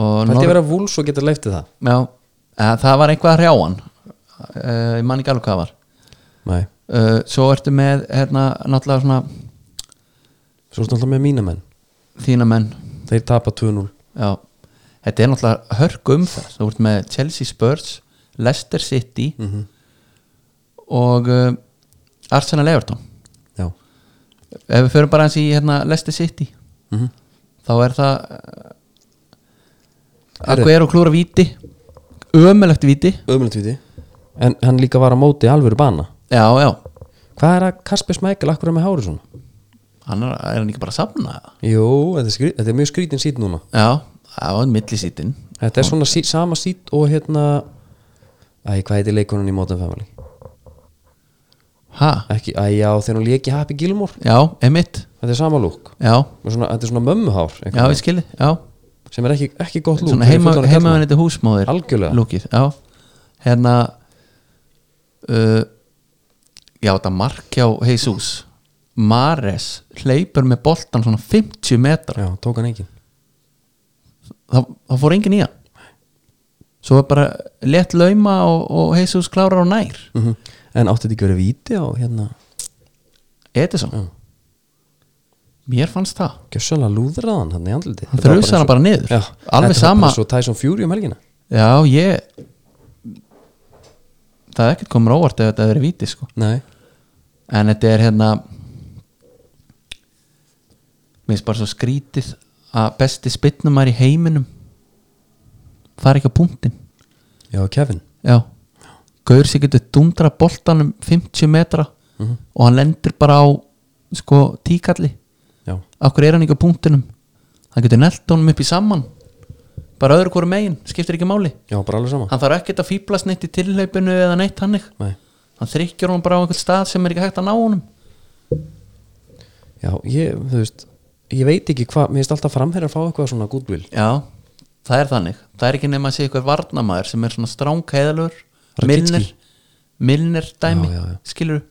[SPEAKER 2] og
[SPEAKER 1] pælti
[SPEAKER 2] Nor-
[SPEAKER 1] að vera vúls og geta leiftið það
[SPEAKER 2] já, eða, það var eitthvað að hrjá hann uh, ég man ekki alveg hvað það var
[SPEAKER 1] nei,
[SPEAKER 2] uh, svo ertu með hérna náttúrulega svona
[SPEAKER 1] svo ertu alltaf með mína menn
[SPEAKER 2] þína menn
[SPEAKER 1] þeir tapa 2-0
[SPEAKER 2] já, þetta er náttúrulega hörku umferð þú ert með Chelsea Spurs Leicester City
[SPEAKER 1] Mhm.
[SPEAKER 2] og uh, Arsenal Everton
[SPEAKER 1] já,
[SPEAKER 2] ef við förum bara eins í hérna, Leicester City
[SPEAKER 1] Mhm.
[SPEAKER 2] þá er það eh,
[SPEAKER 1] Herri.
[SPEAKER 2] Aguero klúra víti ömulegt víti
[SPEAKER 1] ömulegt viti en hann líka var á móti alvöru bana
[SPEAKER 2] já, já,
[SPEAKER 1] hvað er að Kasper Smækkel akkur er með hárið svona
[SPEAKER 2] hann er, er hann ekki bara að safna það?
[SPEAKER 1] jú, þetta er, skrí, þetta er mjög skrítin sít núna
[SPEAKER 2] já, það var millisítin
[SPEAKER 1] þetta er svona sí, sama sít og hérna æ, hvað heitir leikonan í Modern Family
[SPEAKER 2] ha,
[SPEAKER 1] ekki, æ, já, þegar hún léki Happy Gilmore
[SPEAKER 2] já, emitt
[SPEAKER 1] þetta er sama lúk
[SPEAKER 2] já,
[SPEAKER 1] svona, þetta er svona mömmuhár einhvern
[SPEAKER 2] já,
[SPEAKER 1] veginn,
[SPEAKER 2] ég skilji já,
[SPEAKER 1] sem er ekki, ekki gott lúk
[SPEAKER 2] svona
[SPEAKER 1] fyrir
[SPEAKER 2] heima,
[SPEAKER 1] fullorðna
[SPEAKER 2] heima
[SPEAKER 1] karlmann.
[SPEAKER 2] þetta húsmóðir
[SPEAKER 1] Algjörlega.
[SPEAKER 2] lúkið, já hérna uh, já, þetta mark hjá Jesus Mares hleypur með boltan svona 50 metra
[SPEAKER 1] já, tók hann engin
[SPEAKER 2] það, það fór engin í hann svo er bara lett lauma og, og Jesus klárar á nær
[SPEAKER 1] en átti þetta ekki verið víti á hérna
[SPEAKER 2] Edison
[SPEAKER 1] Já.
[SPEAKER 2] mér fannst það
[SPEAKER 1] gjössalega lúðraðan hann í andliti
[SPEAKER 2] hann
[SPEAKER 1] Þetta var
[SPEAKER 2] þrjusa hana
[SPEAKER 1] eins og-
[SPEAKER 2] bara niður
[SPEAKER 1] Já,
[SPEAKER 2] alveg
[SPEAKER 1] þetta var bara
[SPEAKER 2] sama,
[SPEAKER 1] svo Tyson Fury um helgina
[SPEAKER 2] já ég það er ekkert komur óvart ef þetta er verið víti sko
[SPEAKER 1] nei,
[SPEAKER 2] en þetta er hérna minnst bara svo skrítið að besti spinnumar í heiminum fari ekki á punktin
[SPEAKER 1] já, Kevin
[SPEAKER 2] já, Gaur sér getur dundra boltanum 50 metra og hann lendir bara á sko tíkalli
[SPEAKER 1] já,
[SPEAKER 2] okkur er hann ekki á punktinum hann getur nelt honum upp í saman bara öðru hverju megin, skiptir ekki máli
[SPEAKER 1] já, bara alveg sama
[SPEAKER 2] hann þarf ekkert að fýblast neitt í tilhlaupinu eða neitt hannig
[SPEAKER 1] nei.
[SPEAKER 2] hann þrykkjur honum bara á einhvern stað sem er ekki hægt að ná honum
[SPEAKER 1] já, ég, þú veist ég veit ekki hvað, mér finnst alltaf framherjar að fá eitthvað svona goodwill
[SPEAKER 2] Já, það er þannig Það er ekki nema að sé eitthvað varnamaður sem er svona stránkæðalur
[SPEAKER 1] Rakitski.
[SPEAKER 2] Milner, Milner dæmi
[SPEAKER 1] Já, já, já.
[SPEAKER 2] skilur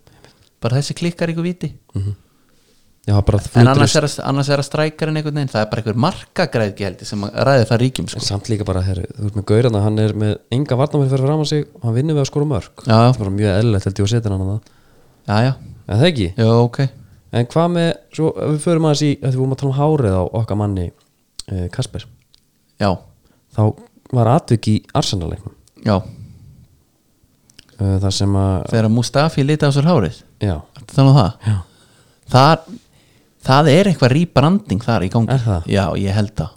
[SPEAKER 2] bara þessi klikkar ykkur viti
[SPEAKER 1] já, bara
[SPEAKER 2] en
[SPEAKER 1] flutur
[SPEAKER 2] annars er, að, annars er að strækarinn einhvern veginn það er bara einhver markagræðgi heldur sem að ræði það ríkjum sko.
[SPEAKER 1] samt líka bara, herri, þú veist með Gaurana hann er með enga varnamæri fyrir fram að sig og hann vinnur við að skora mörg
[SPEAKER 2] Já, já,
[SPEAKER 1] það er bara mjög eðlilegt held ég að setja hann að það
[SPEAKER 2] já, já,
[SPEAKER 1] en það ekki,
[SPEAKER 2] já, ok
[SPEAKER 1] en hvað með svo, ef við förum aðeins í, þegar við vorum að tala um hárið á okkar manni eh, Kasper
[SPEAKER 2] Já,
[SPEAKER 1] þá var atvik í Arsenal-leiknum
[SPEAKER 2] já,
[SPEAKER 1] eh, þar sem að,
[SPEAKER 2] þegar Mustafi liti á sér hárið
[SPEAKER 1] já,
[SPEAKER 2] Ertu Þannig að um það
[SPEAKER 1] já
[SPEAKER 2] Þar, það er eitthvað rýbranding þar í gangi
[SPEAKER 1] Er það?
[SPEAKER 2] Já, ég held það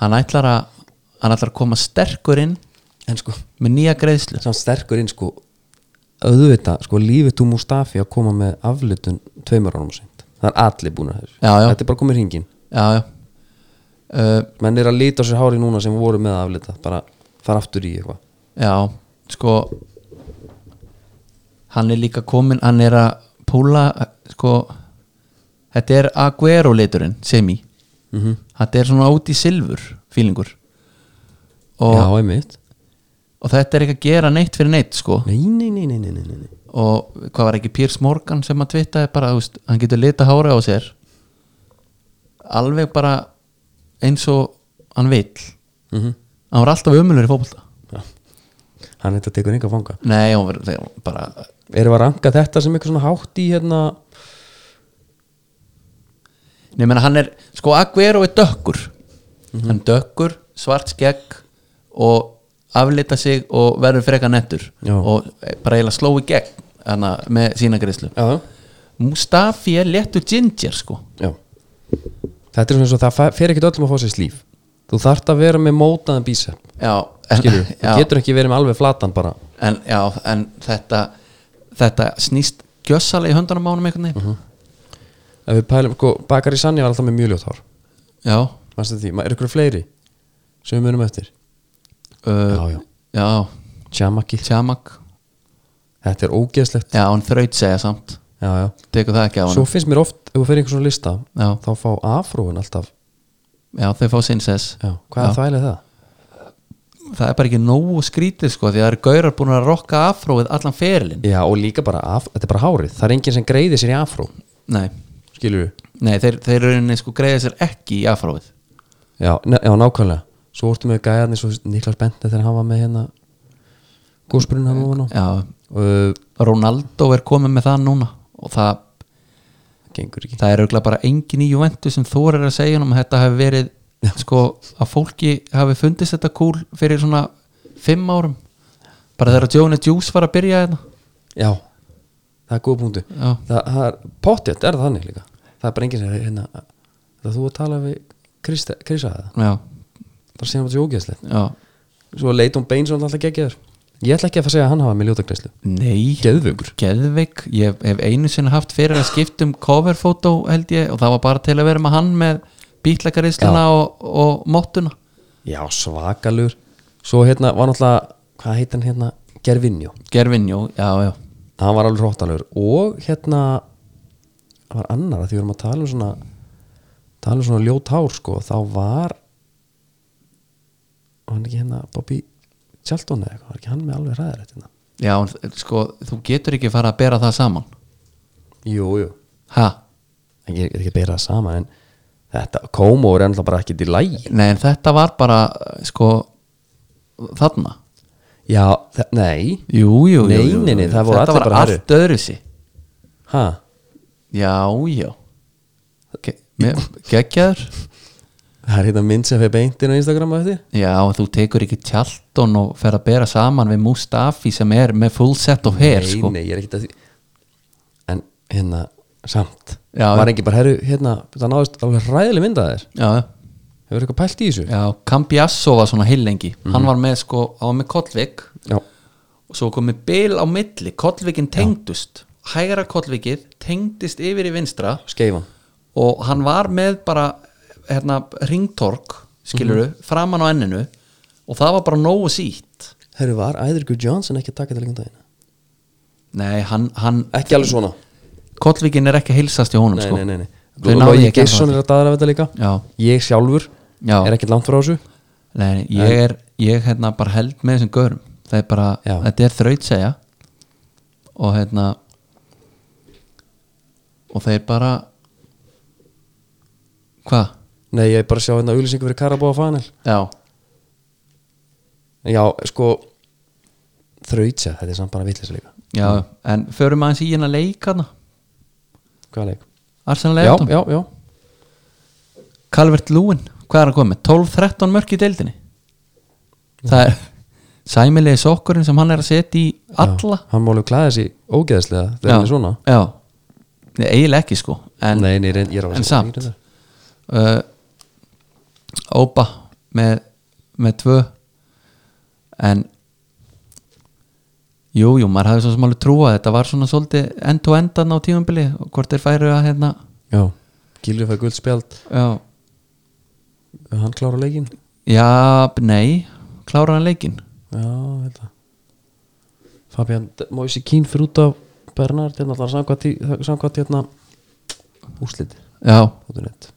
[SPEAKER 2] Hann ætlar að hann ætlar að koma sterkur inn
[SPEAKER 1] en sko,
[SPEAKER 2] með nýja greiðslu
[SPEAKER 1] samt sterkur inn sko auðvitað, sko lífið tú Mustafi að koma með aflitun tveimur ánum sent það er allir búin að þessu
[SPEAKER 2] Já, já.
[SPEAKER 1] þetta er bara komið hringin
[SPEAKER 2] já, já. Uh,
[SPEAKER 1] menn er að líta á sér hári núna sem voru með aflita bara fara aftur í eitthvað
[SPEAKER 2] já, sko hann er líka komin hann er að púla sko, þetta er Aguero liturinn, semi
[SPEAKER 1] mm -hmm.
[SPEAKER 2] þetta er svona út í silfur fílingur
[SPEAKER 1] já,
[SPEAKER 2] og,
[SPEAKER 1] einmitt
[SPEAKER 2] og þetta er ekki að gera neitt fyrir neitt sko
[SPEAKER 1] nei, nei, nei, nei, nei, nei, nei.
[SPEAKER 2] og hvað var ekki Piers Morgan sem að tvittaði bara, þú veist, hann getur lita hára á sér alveg bara eins og hann vill
[SPEAKER 1] Mm
[SPEAKER 2] hann var alltaf umulur í fótbolta
[SPEAKER 1] já. hann þetta tekur enga fanga
[SPEAKER 2] nei, hann var, þegar hann bara
[SPEAKER 1] erum við að ranka þetta sem eitthvað svona hátt í hérna
[SPEAKER 2] Nei, menn hann er, sko Aguero er dökkur hann er dökkur, svart skegg og aflita sig og verður freka nettur
[SPEAKER 1] Já.
[SPEAKER 2] og bara eiginlega sló í gegn hana, með sína greiðslu
[SPEAKER 1] já,
[SPEAKER 2] Mustafi er léttur ginger sko
[SPEAKER 1] já. þetta er svona eins og það fa- fer ekkit öllum að fá sér slíf þú þarft að vera með mótaðan bísepp
[SPEAKER 2] já, en,
[SPEAKER 1] skilur, þú
[SPEAKER 2] já,
[SPEAKER 1] getur ekki verið með alveg flatan bara
[SPEAKER 2] en, já, en þetta þetta snýst gjössalega í höndunum á honum einhvern veginn
[SPEAKER 1] Mhm. ef við pælum, sko, Bakari Sanni var alltaf með mjög ljótt hár
[SPEAKER 2] já,
[SPEAKER 1] Manstu eftir því, Ma- er ykkur fleiri sem við munum eftir
[SPEAKER 2] uh,
[SPEAKER 1] Já, já.
[SPEAKER 2] já,
[SPEAKER 1] Tjamaki,
[SPEAKER 2] Tjamak
[SPEAKER 1] þetta er ógeðslegt
[SPEAKER 2] já, hann þraut segja samt
[SPEAKER 1] já, já.
[SPEAKER 2] tekur það ekki á hann
[SPEAKER 1] svo finnst mér oft, ef þú fyrir einhver svona lista
[SPEAKER 2] já,
[SPEAKER 1] þá fá afróin alltaf
[SPEAKER 2] já, þau fá sinnsess
[SPEAKER 1] já, hvað er þvælega það?
[SPEAKER 2] það er bara ekki nógu skrítið sko því að það eru gaurar búin að rokka afróið allan ferilinn
[SPEAKER 1] já, og líka bara, af, þetta er bara hárið það er enginn sem greiðir sér í afró
[SPEAKER 2] nei,
[SPEAKER 1] skilur við
[SPEAKER 2] Nei, þeir, þeir rauninni sko greiða sér ekki í afráið
[SPEAKER 1] já, ne- já, nákvæmlega svo vortum við gæðarnir svo Niklas Bente þegar hann var með hérna gósbrunna hann ofan á
[SPEAKER 2] Já,
[SPEAKER 1] og uh,
[SPEAKER 2] Ronaldo er komið með það núna og það,
[SPEAKER 1] gengur ekki
[SPEAKER 2] það er auðvitað bara engin í Juventus sem þorir að segja honum að þetta hafi verið sko að fólki hafi fundist þetta kúl fyrir svona fimm árum bara þegar Jóni Juice var að byrja þetta
[SPEAKER 1] já, það er góð punktu
[SPEAKER 2] Já,
[SPEAKER 1] það, það er pottjætt, er það þannig líka það er bara enginn sem er hérna það þú að tala við Krista, Krisa það
[SPEAKER 2] já,
[SPEAKER 1] bara síðan var þessi ógeðslegt
[SPEAKER 2] já
[SPEAKER 1] svo leit hún Beinsson alltaf geggjæður ég ætla ekki að fara að segja að hann hafa með ljótagreislu
[SPEAKER 2] Nei,
[SPEAKER 1] geðvögur
[SPEAKER 2] geðveik ég hef einu sinni haft fyrir að skipta um coverfótó held ég og það var bara til að vera með hann með bítlakaristluna og, og mottuna
[SPEAKER 1] já, svakalur svo hérna var náttúrulega, hvað heit hann hérna Gervinjó,
[SPEAKER 2] Gervinjó, já, já
[SPEAKER 1] hann var alveg hróttalur og hérna það var annar að því við erum að tala um svona tala um svona ljót hár sko þá var var hann ekki hérna Bobby Charlton eða eitthvað, var ekki hann með alveg ræðir hérna
[SPEAKER 2] Já, en sko, þú getur ekki fara að bera það saman
[SPEAKER 1] jú, jú,
[SPEAKER 2] Ha?
[SPEAKER 1] ekki, ekki að bera það sama en þetta, Komo er ennþá bara ekki í lægi
[SPEAKER 2] Nei, en þetta var bara, sko þarna
[SPEAKER 1] já, þe- nei,
[SPEAKER 2] Jú, jú, jú,
[SPEAKER 1] Nei,
[SPEAKER 2] jú.
[SPEAKER 1] nei, nei, það voru
[SPEAKER 2] Þetta
[SPEAKER 1] allir
[SPEAKER 2] var
[SPEAKER 1] bara,
[SPEAKER 2] allt öðruvísi
[SPEAKER 1] ha
[SPEAKER 2] Já, já Ge mér- Geggjaður
[SPEAKER 1] það er hérna mynd sem fyrir beintin á Instagram að þetta
[SPEAKER 2] Já, en þú tekur ekki tjaldon og fer að bera saman við Mustafi sem er með full set of hair,
[SPEAKER 1] nei,
[SPEAKER 2] sko
[SPEAKER 1] nei, ég er ekkert að því en hérna, samt
[SPEAKER 2] Já.
[SPEAKER 1] var ekki bara, herru, hérna það náðist alveg ræðileg mynd að þér
[SPEAKER 2] Já,
[SPEAKER 1] hefur eitthvað pælt í þessu
[SPEAKER 2] já, Cambiasso var svona hillengi Hann var með, sko, hann var með Kollvik
[SPEAKER 1] já,
[SPEAKER 2] og svo komið bil á milli kollvikin tengdust hægra kollvikið tengdist yfir í vinstra
[SPEAKER 1] skeifan
[SPEAKER 2] og hann var með bara hérna, ringtork skiluru,
[SPEAKER 1] Mhm.
[SPEAKER 2] framan á enninu og það var bara nógu sítt
[SPEAKER 1] herru, var æður Guð Johnson ekki að taka þetta líka um daginn
[SPEAKER 2] nei, hann, hann
[SPEAKER 1] ekki alveg svona
[SPEAKER 2] kollvikin er ekki að heilsast í honum
[SPEAKER 1] nei,
[SPEAKER 2] sko.
[SPEAKER 1] nei, nei, nei.
[SPEAKER 2] Þau náðu
[SPEAKER 1] Logi
[SPEAKER 2] ekki að gera
[SPEAKER 1] Gesson
[SPEAKER 2] það.
[SPEAKER 1] er að daðra þetta líka
[SPEAKER 2] já,
[SPEAKER 1] ég sjálfur
[SPEAKER 2] já,
[SPEAKER 1] er ekkert langt frá þessu
[SPEAKER 2] nei, nei, ég er ég hérna bara held með þessum görum það er bara,
[SPEAKER 1] Já.
[SPEAKER 2] þetta er þraut segja og hérna og þeir bara hvað?
[SPEAKER 1] nei, ég er bara að sjá hérna auðlýsingu fyrir Karabóa Fanel
[SPEAKER 2] Já,
[SPEAKER 1] já, sko þrautsa, þetta er samt bara vitlis líka
[SPEAKER 2] já, en förum aðeins í hérna leikana
[SPEAKER 1] hvaða leik?
[SPEAKER 2] Arsenal
[SPEAKER 1] já,
[SPEAKER 2] Everton,
[SPEAKER 1] já, já,
[SPEAKER 2] Calvert Lúin hvað er hann komið, 12-13 mörk í deildinni það er sæmilegi sokkurinn sem hann er að setja í alla
[SPEAKER 1] já. hann má alveg klæða sig ógeðslega þegar hann er svona
[SPEAKER 2] já. Nei, eiginlega ekki sko en
[SPEAKER 1] nei, nei, reynd, ég er á
[SPEAKER 2] en
[SPEAKER 1] þessu-
[SPEAKER 2] samt.
[SPEAKER 1] ég er á þessu.
[SPEAKER 2] uh, Óba með, með tvö en jú, jú, maður hafði svo sem alveg trúa þetta var svona svolítið end to endan á tíumbili og hvort þeir færu að hérna
[SPEAKER 1] já, Gilvi fæði guld spjald
[SPEAKER 2] já,
[SPEAKER 1] hann klára leikin
[SPEAKER 2] Já, nei Klárar hann leikinn
[SPEAKER 1] já, þetta Fabian Moisi Kín fyrir út af Bernard, hérna allar samkvæmt í- samkvæmt hérna úslit
[SPEAKER 2] Já,
[SPEAKER 1] fótunett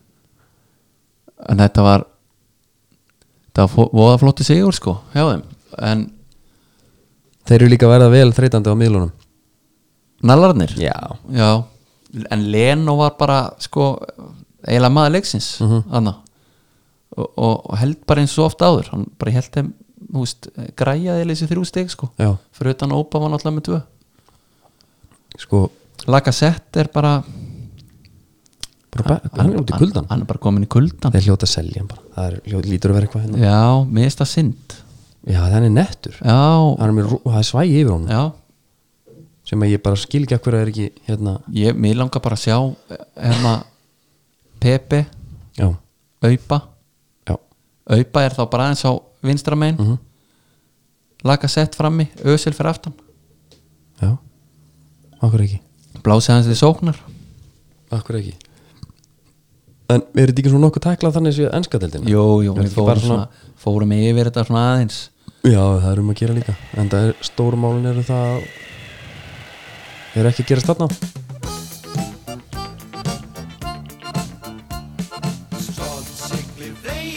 [SPEAKER 2] en þetta var þetta var fó- voða flotti sigur sko hjá þeim, en
[SPEAKER 1] þeir eru líka að verða vel þreytandi á miðlunum
[SPEAKER 2] nallarnir
[SPEAKER 1] já,
[SPEAKER 2] Já, en Leno var bara sko, eiginlega maður leiksins mm og, og, og held bara eins og ofta áður hann bara held þeim, þú veist, græjaði þessi þrjú steg sko,
[SPEAKER 1] já,
[SPEAKER 2] fyrir utan Ópa var náttúrulega með tvö
[SPEAKER 1] sko
[SPEAKER 2] Lagasett er bara
[SPEAKER 1] bara, be- hann er út í kuldan
[SPEAKER 2] hann er bara komin í kuldan
[SPEAKER 1] þeir hljóta að selja hann bara, það er, hljóta, lítur að vera eitthvað hérna
[SPEAKER 2] Já, mista sind
[SPEAKER 1] já, þannig er nettur
[SPEAKER 2] Já,
[SPEAKER 1] hann er með, rú- það er svægi yfir honum
[SPEAKER 2] já
[SPEAKER 1] sem að ég bara skil ekki að hverja er ekki hérna,
[SPEAKER 2] ég, mér langar bara að sjá eh, hérna Pepe,
[SPEAKER 1] já,
[SPEAKER 2] Aupa
[SPEAKER 1] já
[SPEAKER 2] Aupa er þá bara aðeins á vinstra megin
[SPEAKER 1] Mhm.
[SPEAKER 2] laga sett frammi, Ösil fyrir aftan
[SPEAKER 1] Já, okkur ekki
[SPEAKER 2] blásið hans til sóknar
[SPEAKER 1] Okkur ekki En er þetta ekki svona nokkuð tæklað þannig séu ennska deildin?
[SPEAKER 2] jú, jú,
[SPEAKER 1] Er þetta
[SPEAKER 2] við
[SPEAKER 1] ekki
[SPEAKER 2] fórum,
[SPEAKER 1] bara
[SPEAKER 2] svona, fórum yfir þetta svona aðeins
[SPEAKER 1] Já, það er um að gera líka En það er, stórmálin eru það Er ekki að gera stanna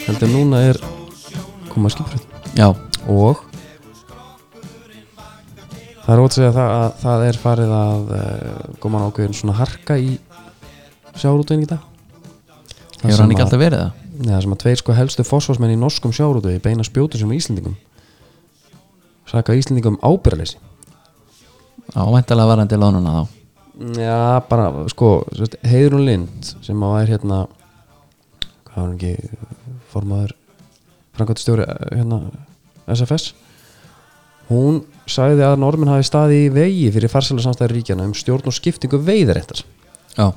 [SPEAKER 1] Heldur núna er koma skiprætt
[SPEAKER 2] já,
[SPEAKER 1] og eh, það er ótsegja það að það er farið að uh, koma ákveðin svona harka í sjáurútvegin í dag Það
[SPEAKER 2] Hefur
[SPEAKER 1] sem
[SPEAKER 2] hann ekki
[SPEAKER 1] að-
[SPEAKER 2] alltaf verið það?
[SPEAKER 1] Nei, það sem að tveir sko helstu fósforsmenn í norskum sjáurútvegi beina spjótu sem Íslendingum Saka um Íslendingum ábyrðaleysi
[SPEAKER 2] Já, væntalega var hann til ánuna þá
[SPEAKER 1] Já, bara sko sem sagt, Heiðrún Lind sem að var hérna hvað var hann ekki formaður framkvæmtastjóri eh, hérna SFS hún sagði að normin hafi staði í vegi fyrir farsæla samstæður ríkjana um stjórn og skiptingu veiðaréttar
[SPEAKER 2] Já,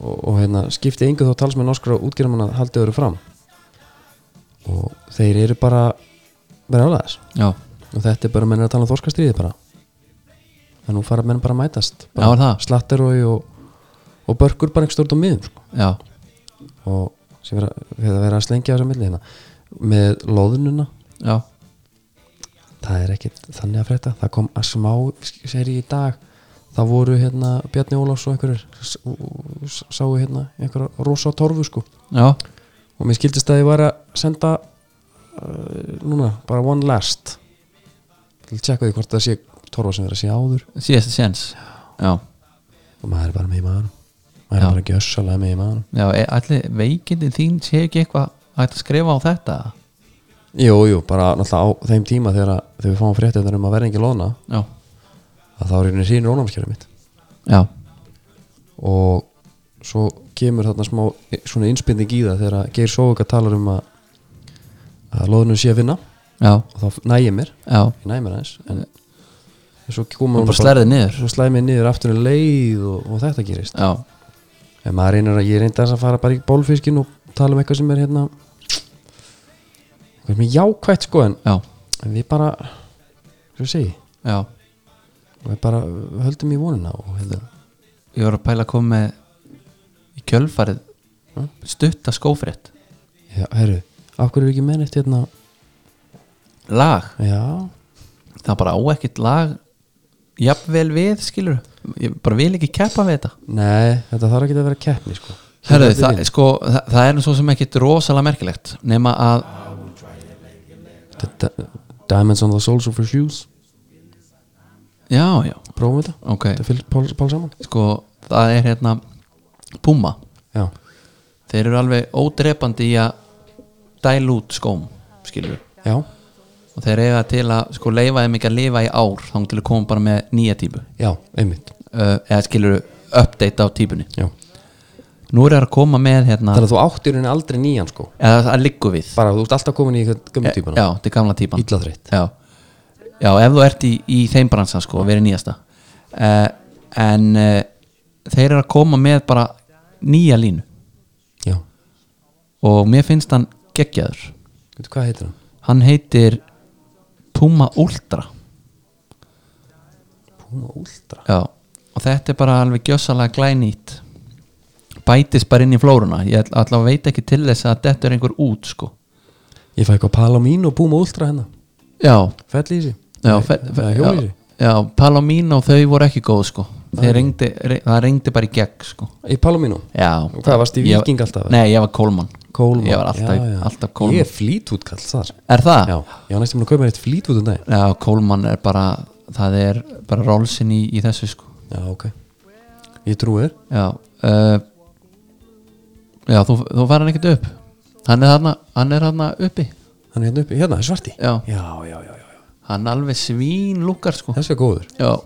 [SPEAKER 1] og, og hérna skipti engu þó talsmenn norskra útgerðamanna haldið eru fram og þeir eru bara verið álæðis
[SPEAKER 2] já,
[SPEAKER 1] og þetta er bara menn er að tala um þorskastríði bara en nú fara menn bara að mætast
[SPEAKER 2] Já, er það?
[SPEAKER 1] slatterói og, og börkur bara einhver stort á miðum sko.
[SPEAKER 2] já,
[SPEAKER 1] og sem vera, vera, vera að slengja þessa milli hérna með loðununa
[SPEAKER 2] já
[SPEAKER 1] það er ekkit þannig að frétta það kom að smá seri í dag það voru hérna Bjarni Ólafs og einhverjir s- og- s- sáu hérna einhverja rosa torfu sko
[SPEAKER 2] Já,
[SPEAKER 1] og mér skildist að ég var að senda uh, núna bara one last til að tjekka því hvort það sé torfa sem verið að sé áður
[SPEAKER 2] síðasta séns Já,
[SPEAKER 1] og maður er bara með í maður maður er
[SPEAKER 2] Já.
[SPEAKER 1] bara gjössalega með í maður
[SPEAKER 2] já, e- allir veikindi þín sé ekki eitthvað hægt að skrifa á þetta
[SPEAKER 1] jú, jú, bara náttúrulega á þeim tíma þegar, að, þegar við fáum fréttinnar um að verða ekki lóna
[SPEAKER 2] Já,
[SPEAKER 1] að þá er einhvern sín rónámskjæri mitt
[SPEAKER 2] já,
[SPEAKER 1] og svo kemur þarna smá eh, svona innspynning í það þegar að Geir Sóvika talar um að að lóðunum sé að vinna
[SPEAKER 2] já,
[SPEAKER 1] og þá næ ég mér,
[SPEAKER 2] já
[SPEAKER 1] ég næ mér aðeins en, en svo koma
[SPEAKER 2] Og
[SPEAKER 1] hún
[SPEAKER 2] bara slærið niður
[SPEAKER 1] svo slæði mig niður aftur en leið og, og þetta gerist
[SPEAKER 2] Já,
[SPEAKER 1] en maður reynir að ég reyndi að fara bara í bólfiskin og tala um eitthvað sem er hérna eitthvað sem er jákvætt sko en,
[SPEAKER 2] já,
[SPEAKER 1] en við bara svo segi,
[SPEAKER 2] já
[SPEAKER 1] við bara höldum í vonina og hérna
[SPEAKER 2] Ég var að pæla að koma með í kjölfarið
[SPEAKER 1] Mm.
[SPEAKER 2] stutta skófrétt
[SPEAKER 1] já, herru, af hverju er ekki menn eftir hérna
[SPEAKER 2] Lag,
[SPEAKER 1] já,
[SPEAKER 2] það bara á ekkert lag jafnvel við, skilur Ég bara vil ekki keppa við þetta
[SPEAKER 1] nei, þetta þarf ekki að vera keppni sko
[SPEAKER 2] Herðu, það, sko, það, það er nú svo sem ekkit rosalega merkilegt nema að,
[SPEAKER 1] Þetta er Di- Diamonds on the Soles of Your Shoes
[SPEAKER 2] já, já,
[SPEAKER 1] prófum við þetta,
[SPEAKER 2] ok
[SPEAKER 1] þetta fylgir Pál, Pál saman
[SPEAKER 2] sko, það er hérna Puma,
[SPEAKER 1] já,
[SPEAKER 2] þeir eru alveg ódrepandi í að dæla út skóm skilur,
[SPEAKER 1] já,
[SPEAKER 2] og þeir eiga til að sko leifa þeim ekki að lifa í ár þá til að koma bara með nýja típu uh,
[SPEAKER 1] já, einmitt
[SPEAKER 2] Eh, eða skilur update á típunni
[SPEAKER 1] já.
[SPEAKER 2] nú er það að koma með hérna,
[SPEAKER 1] þannig að þú áttir henni aldrei nýjan sko
[SPEAKER 2] eða það liggur við Eh,
[SPEAKER 1] bara þú ert alltaf komin í gömmu
[SPEAKER 2] já,
[SPEAKER 1] típuna
[SPEAKER 2] þetta er gamla típan
[SPEAKER 1] illa þreytt
[SPEAKER 2] já. já, ef þú ert í, í þeim bransan sko, verið nýjasta uh, en uh, þeir eru að koma með bara nýja línu
[SPEAKER 1] já,
[SPEAKER 2] og mér finnst hann geggjaður
[SPEAKER 1] veitu hvað heitir hann?
[SPEAKER 2] hann heitir Puma Ultra
[SPEAKER 1] Puma Ultra
[SPEAKER 2] já. og þetta er bara alveg gjössalega glænýtt bætist bara inn í flóruna ég ætla- allavega veit ekki til þess að þetta er einhver út sko
[SPEAKER 1] ég fæ eitthvað Palomino Puma Ultra hennar
[SPEAKER 2] já,
[SPEAKER 1] fell í sig
[SPEAKER 2] já,
[SPEAKER 1] Nei,
[SPEAKER 2] fe, fe,
[SPEAKER 1] eða hjól í
[SPEAKER 2] já, já Palomino þau voru ekki góð sko Þeir reyndi, re, það reyndi bara í gegn sko
[SPEAKER 1] sig í Palomino
[SPEAKER 2] Já
[SPEAKER 1] Og hvað, varstu í
[SPEAKER 2] Ég-
[SPEAKER 1] Víking alltaf?
[SPEAKER 2] Nei, ég var Kólmann
[SPEAKER 1] Coleman
[SPEAKER 2] Ég var
[SPEAKER 1] já,
[SPEAKER 2] alltaf,
[SPEAKER 1] já.
[SPEAKER 2] alltaf Ah. Kólmann
[SPEAKER 1] ég er flýtút kall þar
[SPEAKER 2] Er það?
[SPEAKER 1] já, ég var næstum búin að kaupa mér eitt flýtút um daginn
[SPEAKER 2] Já, Kólmann er bara Það er bara rólsinn í, í þessu sko
[SPEAKER 1] já, ok ég trúi þér
[SPEAKER 2] Já uh, Já, þú, þú fær hann ekkert upp Hann er þarna, hann er þarna uppi
[SPEAKER 1] hann er hérna uppi hérna, það er svarti
[SPEAKER 2] Já,
[SPEAKER 1] já, já, já, já.
[SPEAKER 2] hann alveg svín lukkar sko
[SPEAKER 1] þessi er góður
[SPEAKER 2] Já,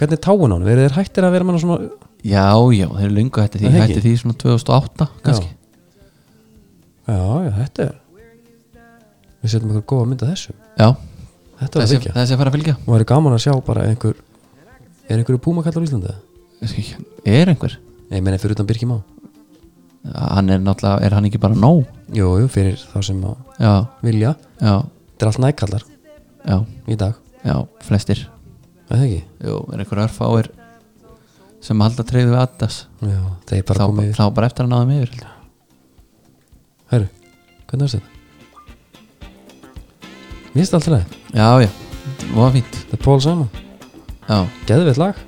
[SPEAKER 1] hvernig er táin á hann? verður þér hættir að vera með hann svona
[SPEAKER 2] já, já, þeir eru lungu hætti því
[SPEAKER 1] Það er
[SPEAKER 2] Hætti
[SPEAKER 1] ekki.
[SPEAKER 2] því svona 2008 kannski
[SPEAKER 1] Já. já, já, þetta er við setjum eitthvað góða mynd af þessu
[SPEAKER 2] Já,
[SPEAKER 1] þetta var
[SPEAKER 2] þessi,
[SPEAKER 1] þykja
[SPEAKER 2] þessi að fara að fylgja
[SPEAKER 1] og það er gaman að sjá bara einhver er einhverju Puma kallar á Íslandi?
[SPEAKER 2] Er einhver?
[SPEAKER 1] nei, ég meina fyrir utan Birkjum á
[SPEAKER 2] Hann er náttúrulega, er hann ekki bara nóg?
[SPEAKER 1] Jú, jú, fyrir þá sem að
[SPEAKER 2] Já,
[SPEAKER 1] vilja
[SPEAKER 2] já,
[SPEAKER 1] Þetta er allt nækallar
[SPEAKER 2] já,
[SPEAKER 1] í dag
[SPEAKER 2] já, flestir
[SPEAKER 1] Er Það ekki?
[SPEAKER 2] Jú, er einhver örfáir sem halda treyðu við Adidas
[SPEAKER 1] Já, það er bara
[SPEAKER 2] þá,
[SPEAKER 1] komið yfir
[SPEAKER 2] þá bara eftir að náðum yfir held ég.
[SPEAKER 1] Herru, hvernig er þetta? Mér finnst alltaf leið
[SPEAKER 2] Já, já, var fínt
[SPEAKER 1] Þetta er Pól saman
[SPEAKER 2] já.
[SPEAKER 1] Geðveitt lag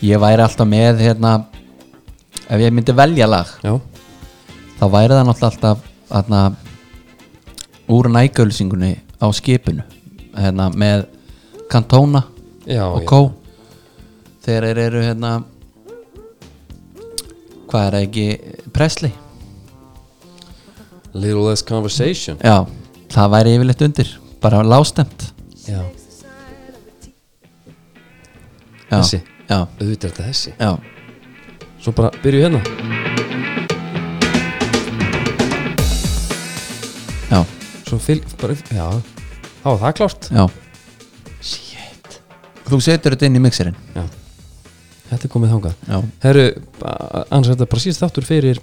[SPEAKER 2] Ég væri alltaf með hérna ef ég myndi velja lag
[SPEAKER 1] Já,
[SPEAKER 2] þá væri það náttúrulega alltaf hérna, úr nægölsingunni á skipinu hérna, með Cantona
[SPEAKER 1] já,
[SPEAKER 2] og
[SPEAKER 1] já.
[SPEAKER 2] Kó þegar þeir eru hérna hvað er það ekki Presley
[SPEAKER 1] Little less conversation
[SPEAKER 2] já, það væri yfirleitt undir bara lástemt
[SPEAKER 1] Já,
[SPEAKER 2] já,
[SPEAKER 1] Þessi?
[SPEAKER 2] já,
[SPEAKER 1] auðvitað er þetta þessi
[SPEAKER 2] já,
[SPEAKER 1] Svo bara byrju hérna
[SPEAKER 2] já,
[SPEAKER 1] Svo fylg, bara, já Þá var það klárt
[SPEAKER 2] já.
[SPEAKER 1] Shit
[SPEAKER 2] þú setur þetta inn í mixerinn
[SPEAKER 1] Já Þetta er komið þangað
[SPEAKER 2] já.
[SPEAKER 1] Herru, a- annars er þetta bara síðast þáttur fyrir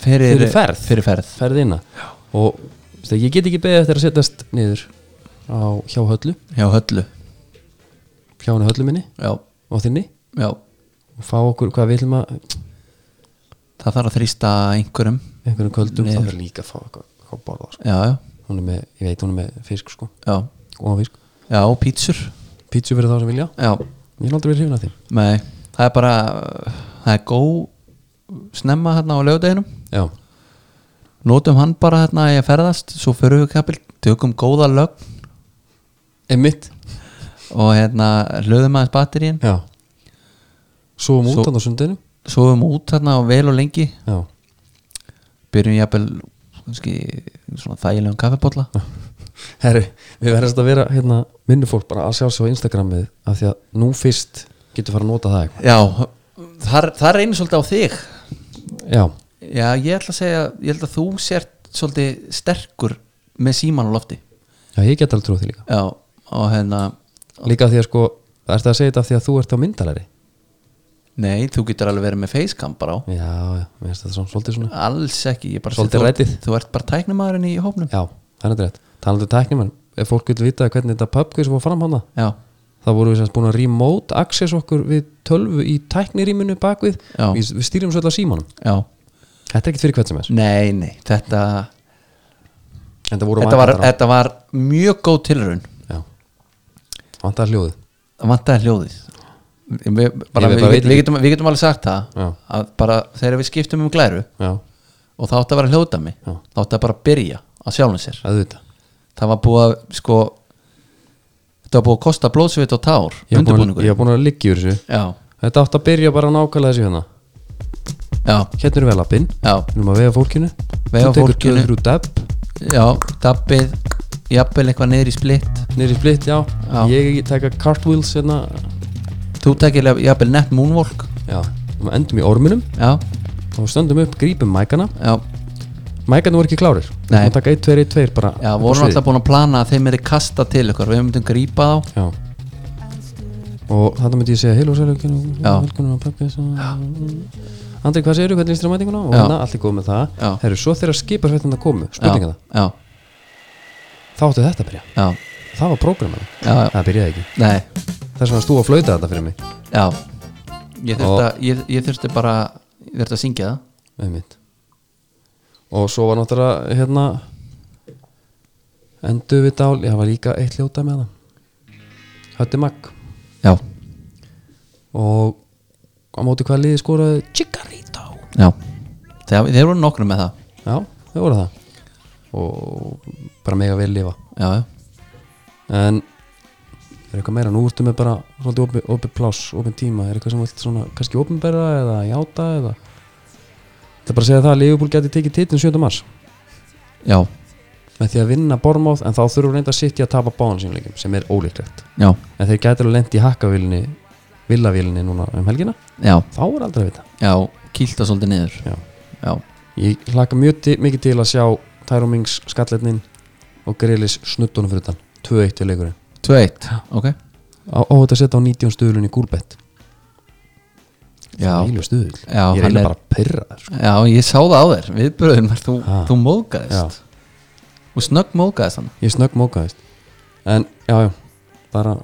[SPEAKER 2] fyrir,
[SPEAKER 1] Fyrir ferð.
[SPEAKER 2] fyrir ferð.
[SPEAKER 1] ferðina Já Og veist, ég get ekki beðið eftir að setjast niður á hjá höllu
[SPEAKER 2] hjá höllu
[SPEAKER 1] hjá henni höllu minni
[SPEAKER 2] já,
[SPEAKER 1] og þinni
[SPEAKER 2] já,
[SPEAKER 1] og fá okkur hvað við ætlum að
[SPEAKER 2] það þarf að þrýsta einhverjum
[SPEAKER 1] einhverjum köldum
[SPEAKER 2] Niður.
[SPEAKER 1] það verður líka að fá eitthvað eitthvað að borða sko.
[SPEAKER 2] já, já,
[SPEAKER 1] hún er með, ég veit hún er með fisk sko
[SPEAKER 2] já,
[SPEAKER 1] og fisk,
[SPEAKER 2] já, og pítsur
[SPEAKER 1] pítsu fyrir þá sem vilja
[SPEAKER 2] já,
[SPEAKER 1] ég hef aldrei verið hrifin af þeim
[SPEAKER 2] nei, það er bara það er góð snemma hérna á lögadeginum
[SPEAKER 1] já,
[SPEAKER 2] notum hann bara hérna að ég ferðast svo förum við kapil, tökum góða lögn
[SPEAKER 1] emitt
[SPEAKER 2] og hérna löðum aðeins batterín
[SPEAKER 1] já, svo um
[SPEAKER 2] Svo-
[SPEAKER 1] út á sundinu
[SPEAKER 2] svo erum við út hérna og vel og lengi
[SPEAKER 1] já,
[SPEAKER 2] byrjum jafnvel kannski svona þægilegum kaffepolla
[SPEAKER 1] herru, við verðast að vera hérna, minnu fólk bara að sjá sig á Instagramið af því að nú fyrst getur fara að nota það eitthvað
[SPEAKER 2] já, þar, þar reynir svolítið á þig
[SPEAKER 1] já,
[SPEAKER 2] já, ég ætla að segja, ég held að þú sért svolítið sterkur með síman á lofti
[SPEAKER 1] já, ég get alveg trúið því líka
[SPEAKER 2] já, og hérna
[SPEAKER 1] líka af því að sko, ertu að segja þetta af því að þú ert á myndalari
[SPEAKER 2] nei, þú getur alveg verið með facecam bara á
[SPEAKER 1] já, já, mér finnst þetta svona svolítið svona
[SPEAKER 2] alls ekki, ég bara
[SPEAKER 1] Svolítið
[SPEAKER 2] þú,
[SPEAKER 1] ræddið.
[SPEAKER 2] þú ert bara tæknumæðurinn í hópnum
[SPEAKER 1] já, það er þetta rétt, talandi um tæknimann ef fólk vil vita hvernig þetta pubquiz var fram hana
[SPEAKER 2] já,
[SPEAKER 1] þá vorum við semst búin að remote access okkur við tölvu í tækniríminu bakvið
[SPEAKER 2] Já.
[SPEAKER 1] við, við stýrum svolítið á símanum
[SPEAKER 2] já
[SPEAKER 1] þetta er ekkert fyrir hvert sem er
[SPEAKER 2] Nei, nei, þetta
[SPEAKER 1] þetta voru
[SPEAKER 2] þetta var,
[SPEAKER 1] vantar á-
[SPEAKER 2] þetta var mjög góð tilraun
[SPEAKER 1] Já. vantar hljóðið
[SPEAKER 2] það vantaði hljóðið við, bara,
[SPEAKER 1] Ég
[SPEAKER 2] við,
[SPEAKER 1] bara veit
[SPEAKER 2] við,
[SPEAKER 1] ekki.
[SPEAKER 2] getum, við getum alveg sagt það
[SPEAKER 1] Já.
[SPEAKER 2] að bara þegar við skiptum um glæru
[SPEAKER 1] já,
[SPEAKER 2] og þá átti að vera hljóðdæmi
[SPEAKER 1] Já.
[SPEAKER 2] þá átti að bara byrja að sjálfum sér
[SPEAKER 1] auðvitað
[SPEAKER 2] það var búið að sko þetta var búið að kosta blóðsvit og
[SPEAKER 1] ég
[SPEAKER 2] tár
[SPEAKER 1] var búin,
[SPEAKER 2] undirbúningur
[SPEAKER 1] ég var búin að liggja úr þessu
[SPEAKER 2] já,
[SPEAKER 1] þetta átt að byrja bara nákvæmlega þessu hérna
[SPEAKER 2] já,
[SPEAKER 1] hérna eru við lappinn,
[SPEAKER 2] já,
[SPEAKER 1] við erum að vega fólkinu
[SPEAKER 2] Veifa
[SPEAKER 1] þú tekur
[SPEAKER 2] fólkinu.
[SPEAKER 1] töður úr depp
[SPEAKER 2] já dabbið, jafnvel eitthvað niður í splitt
[SPEAKER 1] niður í splitt, já,
[SPEAKER 2] Já.
[SPEAKER 1] ég taka cartwheels hérna,
[SPEAKER 2] þú tekir jafnvel nett moonwalk
[SPEAKER 1] já, við endum í orminum
[SPEAKER 2] já,
[SPEAKER 1] þá stöndum upp, grípum mækana
[SPEAKER 2] já,
[SPEAKER 1] mækarnir voru ekki klárir við
[SPEAKER 2] Nei.
[SPEAKER 1] erum að taka 1, 2, 1, 2 bara
[SPEAKER 2] já,
[SPEAKER 1] upp á
[SPEAKER 2] vorum
[SPEAKER 1] sviðið.
[SPEAKER 2] alltaf búin að plana að þeim er kasta til ykkur, við myndum grípa þá
[SPEAKER 1] já. og þetta myndi ég segja heil og sæl og
[SPEAKER 2] Já.
[SPEAKER 1] velkomin á pappis Andri, hvað segirðu, hvernig líst þér á mætinguna og
[SPEAKER 2] Já.
[SPEAKER 1] hérna, allt er góð með það
[SPEAKER 2] Já.
[SPEAKER 1] Herru, svo þegar skiparsveitin það komu, spurninga það
[SPEAKER 2] já,
[SPEAKER 1] þá áttu þetta að byrja,
[SPEAKER 2] já,
[SPEAKER 1] það var prógramið
[SPEAKER 2] já, já,
[SPEAKER 1] það byrjaði ekki,
[SPEAKER 2] nei,
[SPEAKER 1] þess vegna stú að flauta þetta fyrir mig
[SPEAKER 2] já ég
[SPEAKER 1] Og-
[SPEAKER 2] þurfti, að, ég, ég þurfti bara ég þurfti að syngja það
[SPEAKER 1] einmitt og svo var náttúrulega hérna endur við dál, það var líka eitt ljóta með það Hötti Magg
[SPEAKER 2] já,
[SPEAKER 1] og á móti hvað liði skoraði Chikarito
[SPEAKER 2] já, þeir, þeir voru nokkrum með það
[SPEAKER 1] já, þau voru það og bara mega vel lifa
[SPEAKER 2] já, já,
[SPEAKER 1] en er eitthvað meira, nú ertu með bara svolítið opið opi pláss, opið tíma er eitthvað sem þú vilt svona, kannski opinberða eða játa eða það er bara að segja það að Liverpool geti tekið titlun 7. mars
[SPEAKER 2] já,
[SPEAKER 1] með því að vinna Bormáð en þá þurfum reynda að sitja að tapa báðan sínleikum sem er ólíklegt
[SPEAKER 2] já,
[SPEAKER 1] en þeir gæti alveg lent í hakkavílinni villavílinni núna um helgina
[SPEAKER 2] já,
[SPEAKER 1] þá er aldrei að vita
[SPEAKER 2] já kýlta svolítið niður
[SPEAKER 1] Já.
[SPEAKER 2] já,
[SPEAKER 1] Ég hlaka mjög til, mikið til að sjá Tyrone Mings skalletnin og Grelis snuttunum fyrir utan 2-1 til leikurinn
[SPEAKER 2] tveitt, ok
[SPEAKER 1] á, á þetta að setja á 19 stuðlun í gúlbett
[SPEAKER 2] já,
[SPEAKER 1] Ílu stuðl Ég
[SPEAKER 2] já,
[SPEAKER 1] er
[SPEAKER 2] hann
[SPEAKER 1] eiginlega
[SPEAKER 2] er
[SPEAKER 1] bara að pyrra þér sko.
[SPEAKER 2] já, ég sá það á þér, viðbröðin var þú,
[SPEAKER 1] Ha.
[SPEAKER 2] þú móðgæðist og snögg móðgæðist hann
[SPEAKER 1] Ég snögg mókaðist En, já, já, bara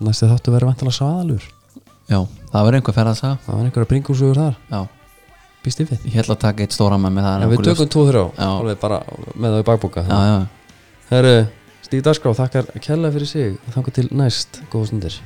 [SPEAKER 1] Næstu þáttu verið vantilega svaðalur
[SPEAKER 2] já, það var einhver ferð að sagða
[SPEAKER 1] Það var einhverja bringusugur þar,
[SPEAKER 2] já,
[SPEAKER 1] býst ég við
[SPEAKER 2] ég ætla að taka eitt stóra með með það er
[SPEAKER 1] En við
[SPEAKER 2] nokkuð ljóst.
[SPEAKER 1] tökum 2-3
[SPEAKER 2] Já.
[SPEAKER 1] Alveg bara með það í bakbúka
[SPEAKER 2] já, já,
[SPEAKER 1] Herru, Stíð Darskrá, þakkar kærlega fyrir sig Þangar til næst, góða stundir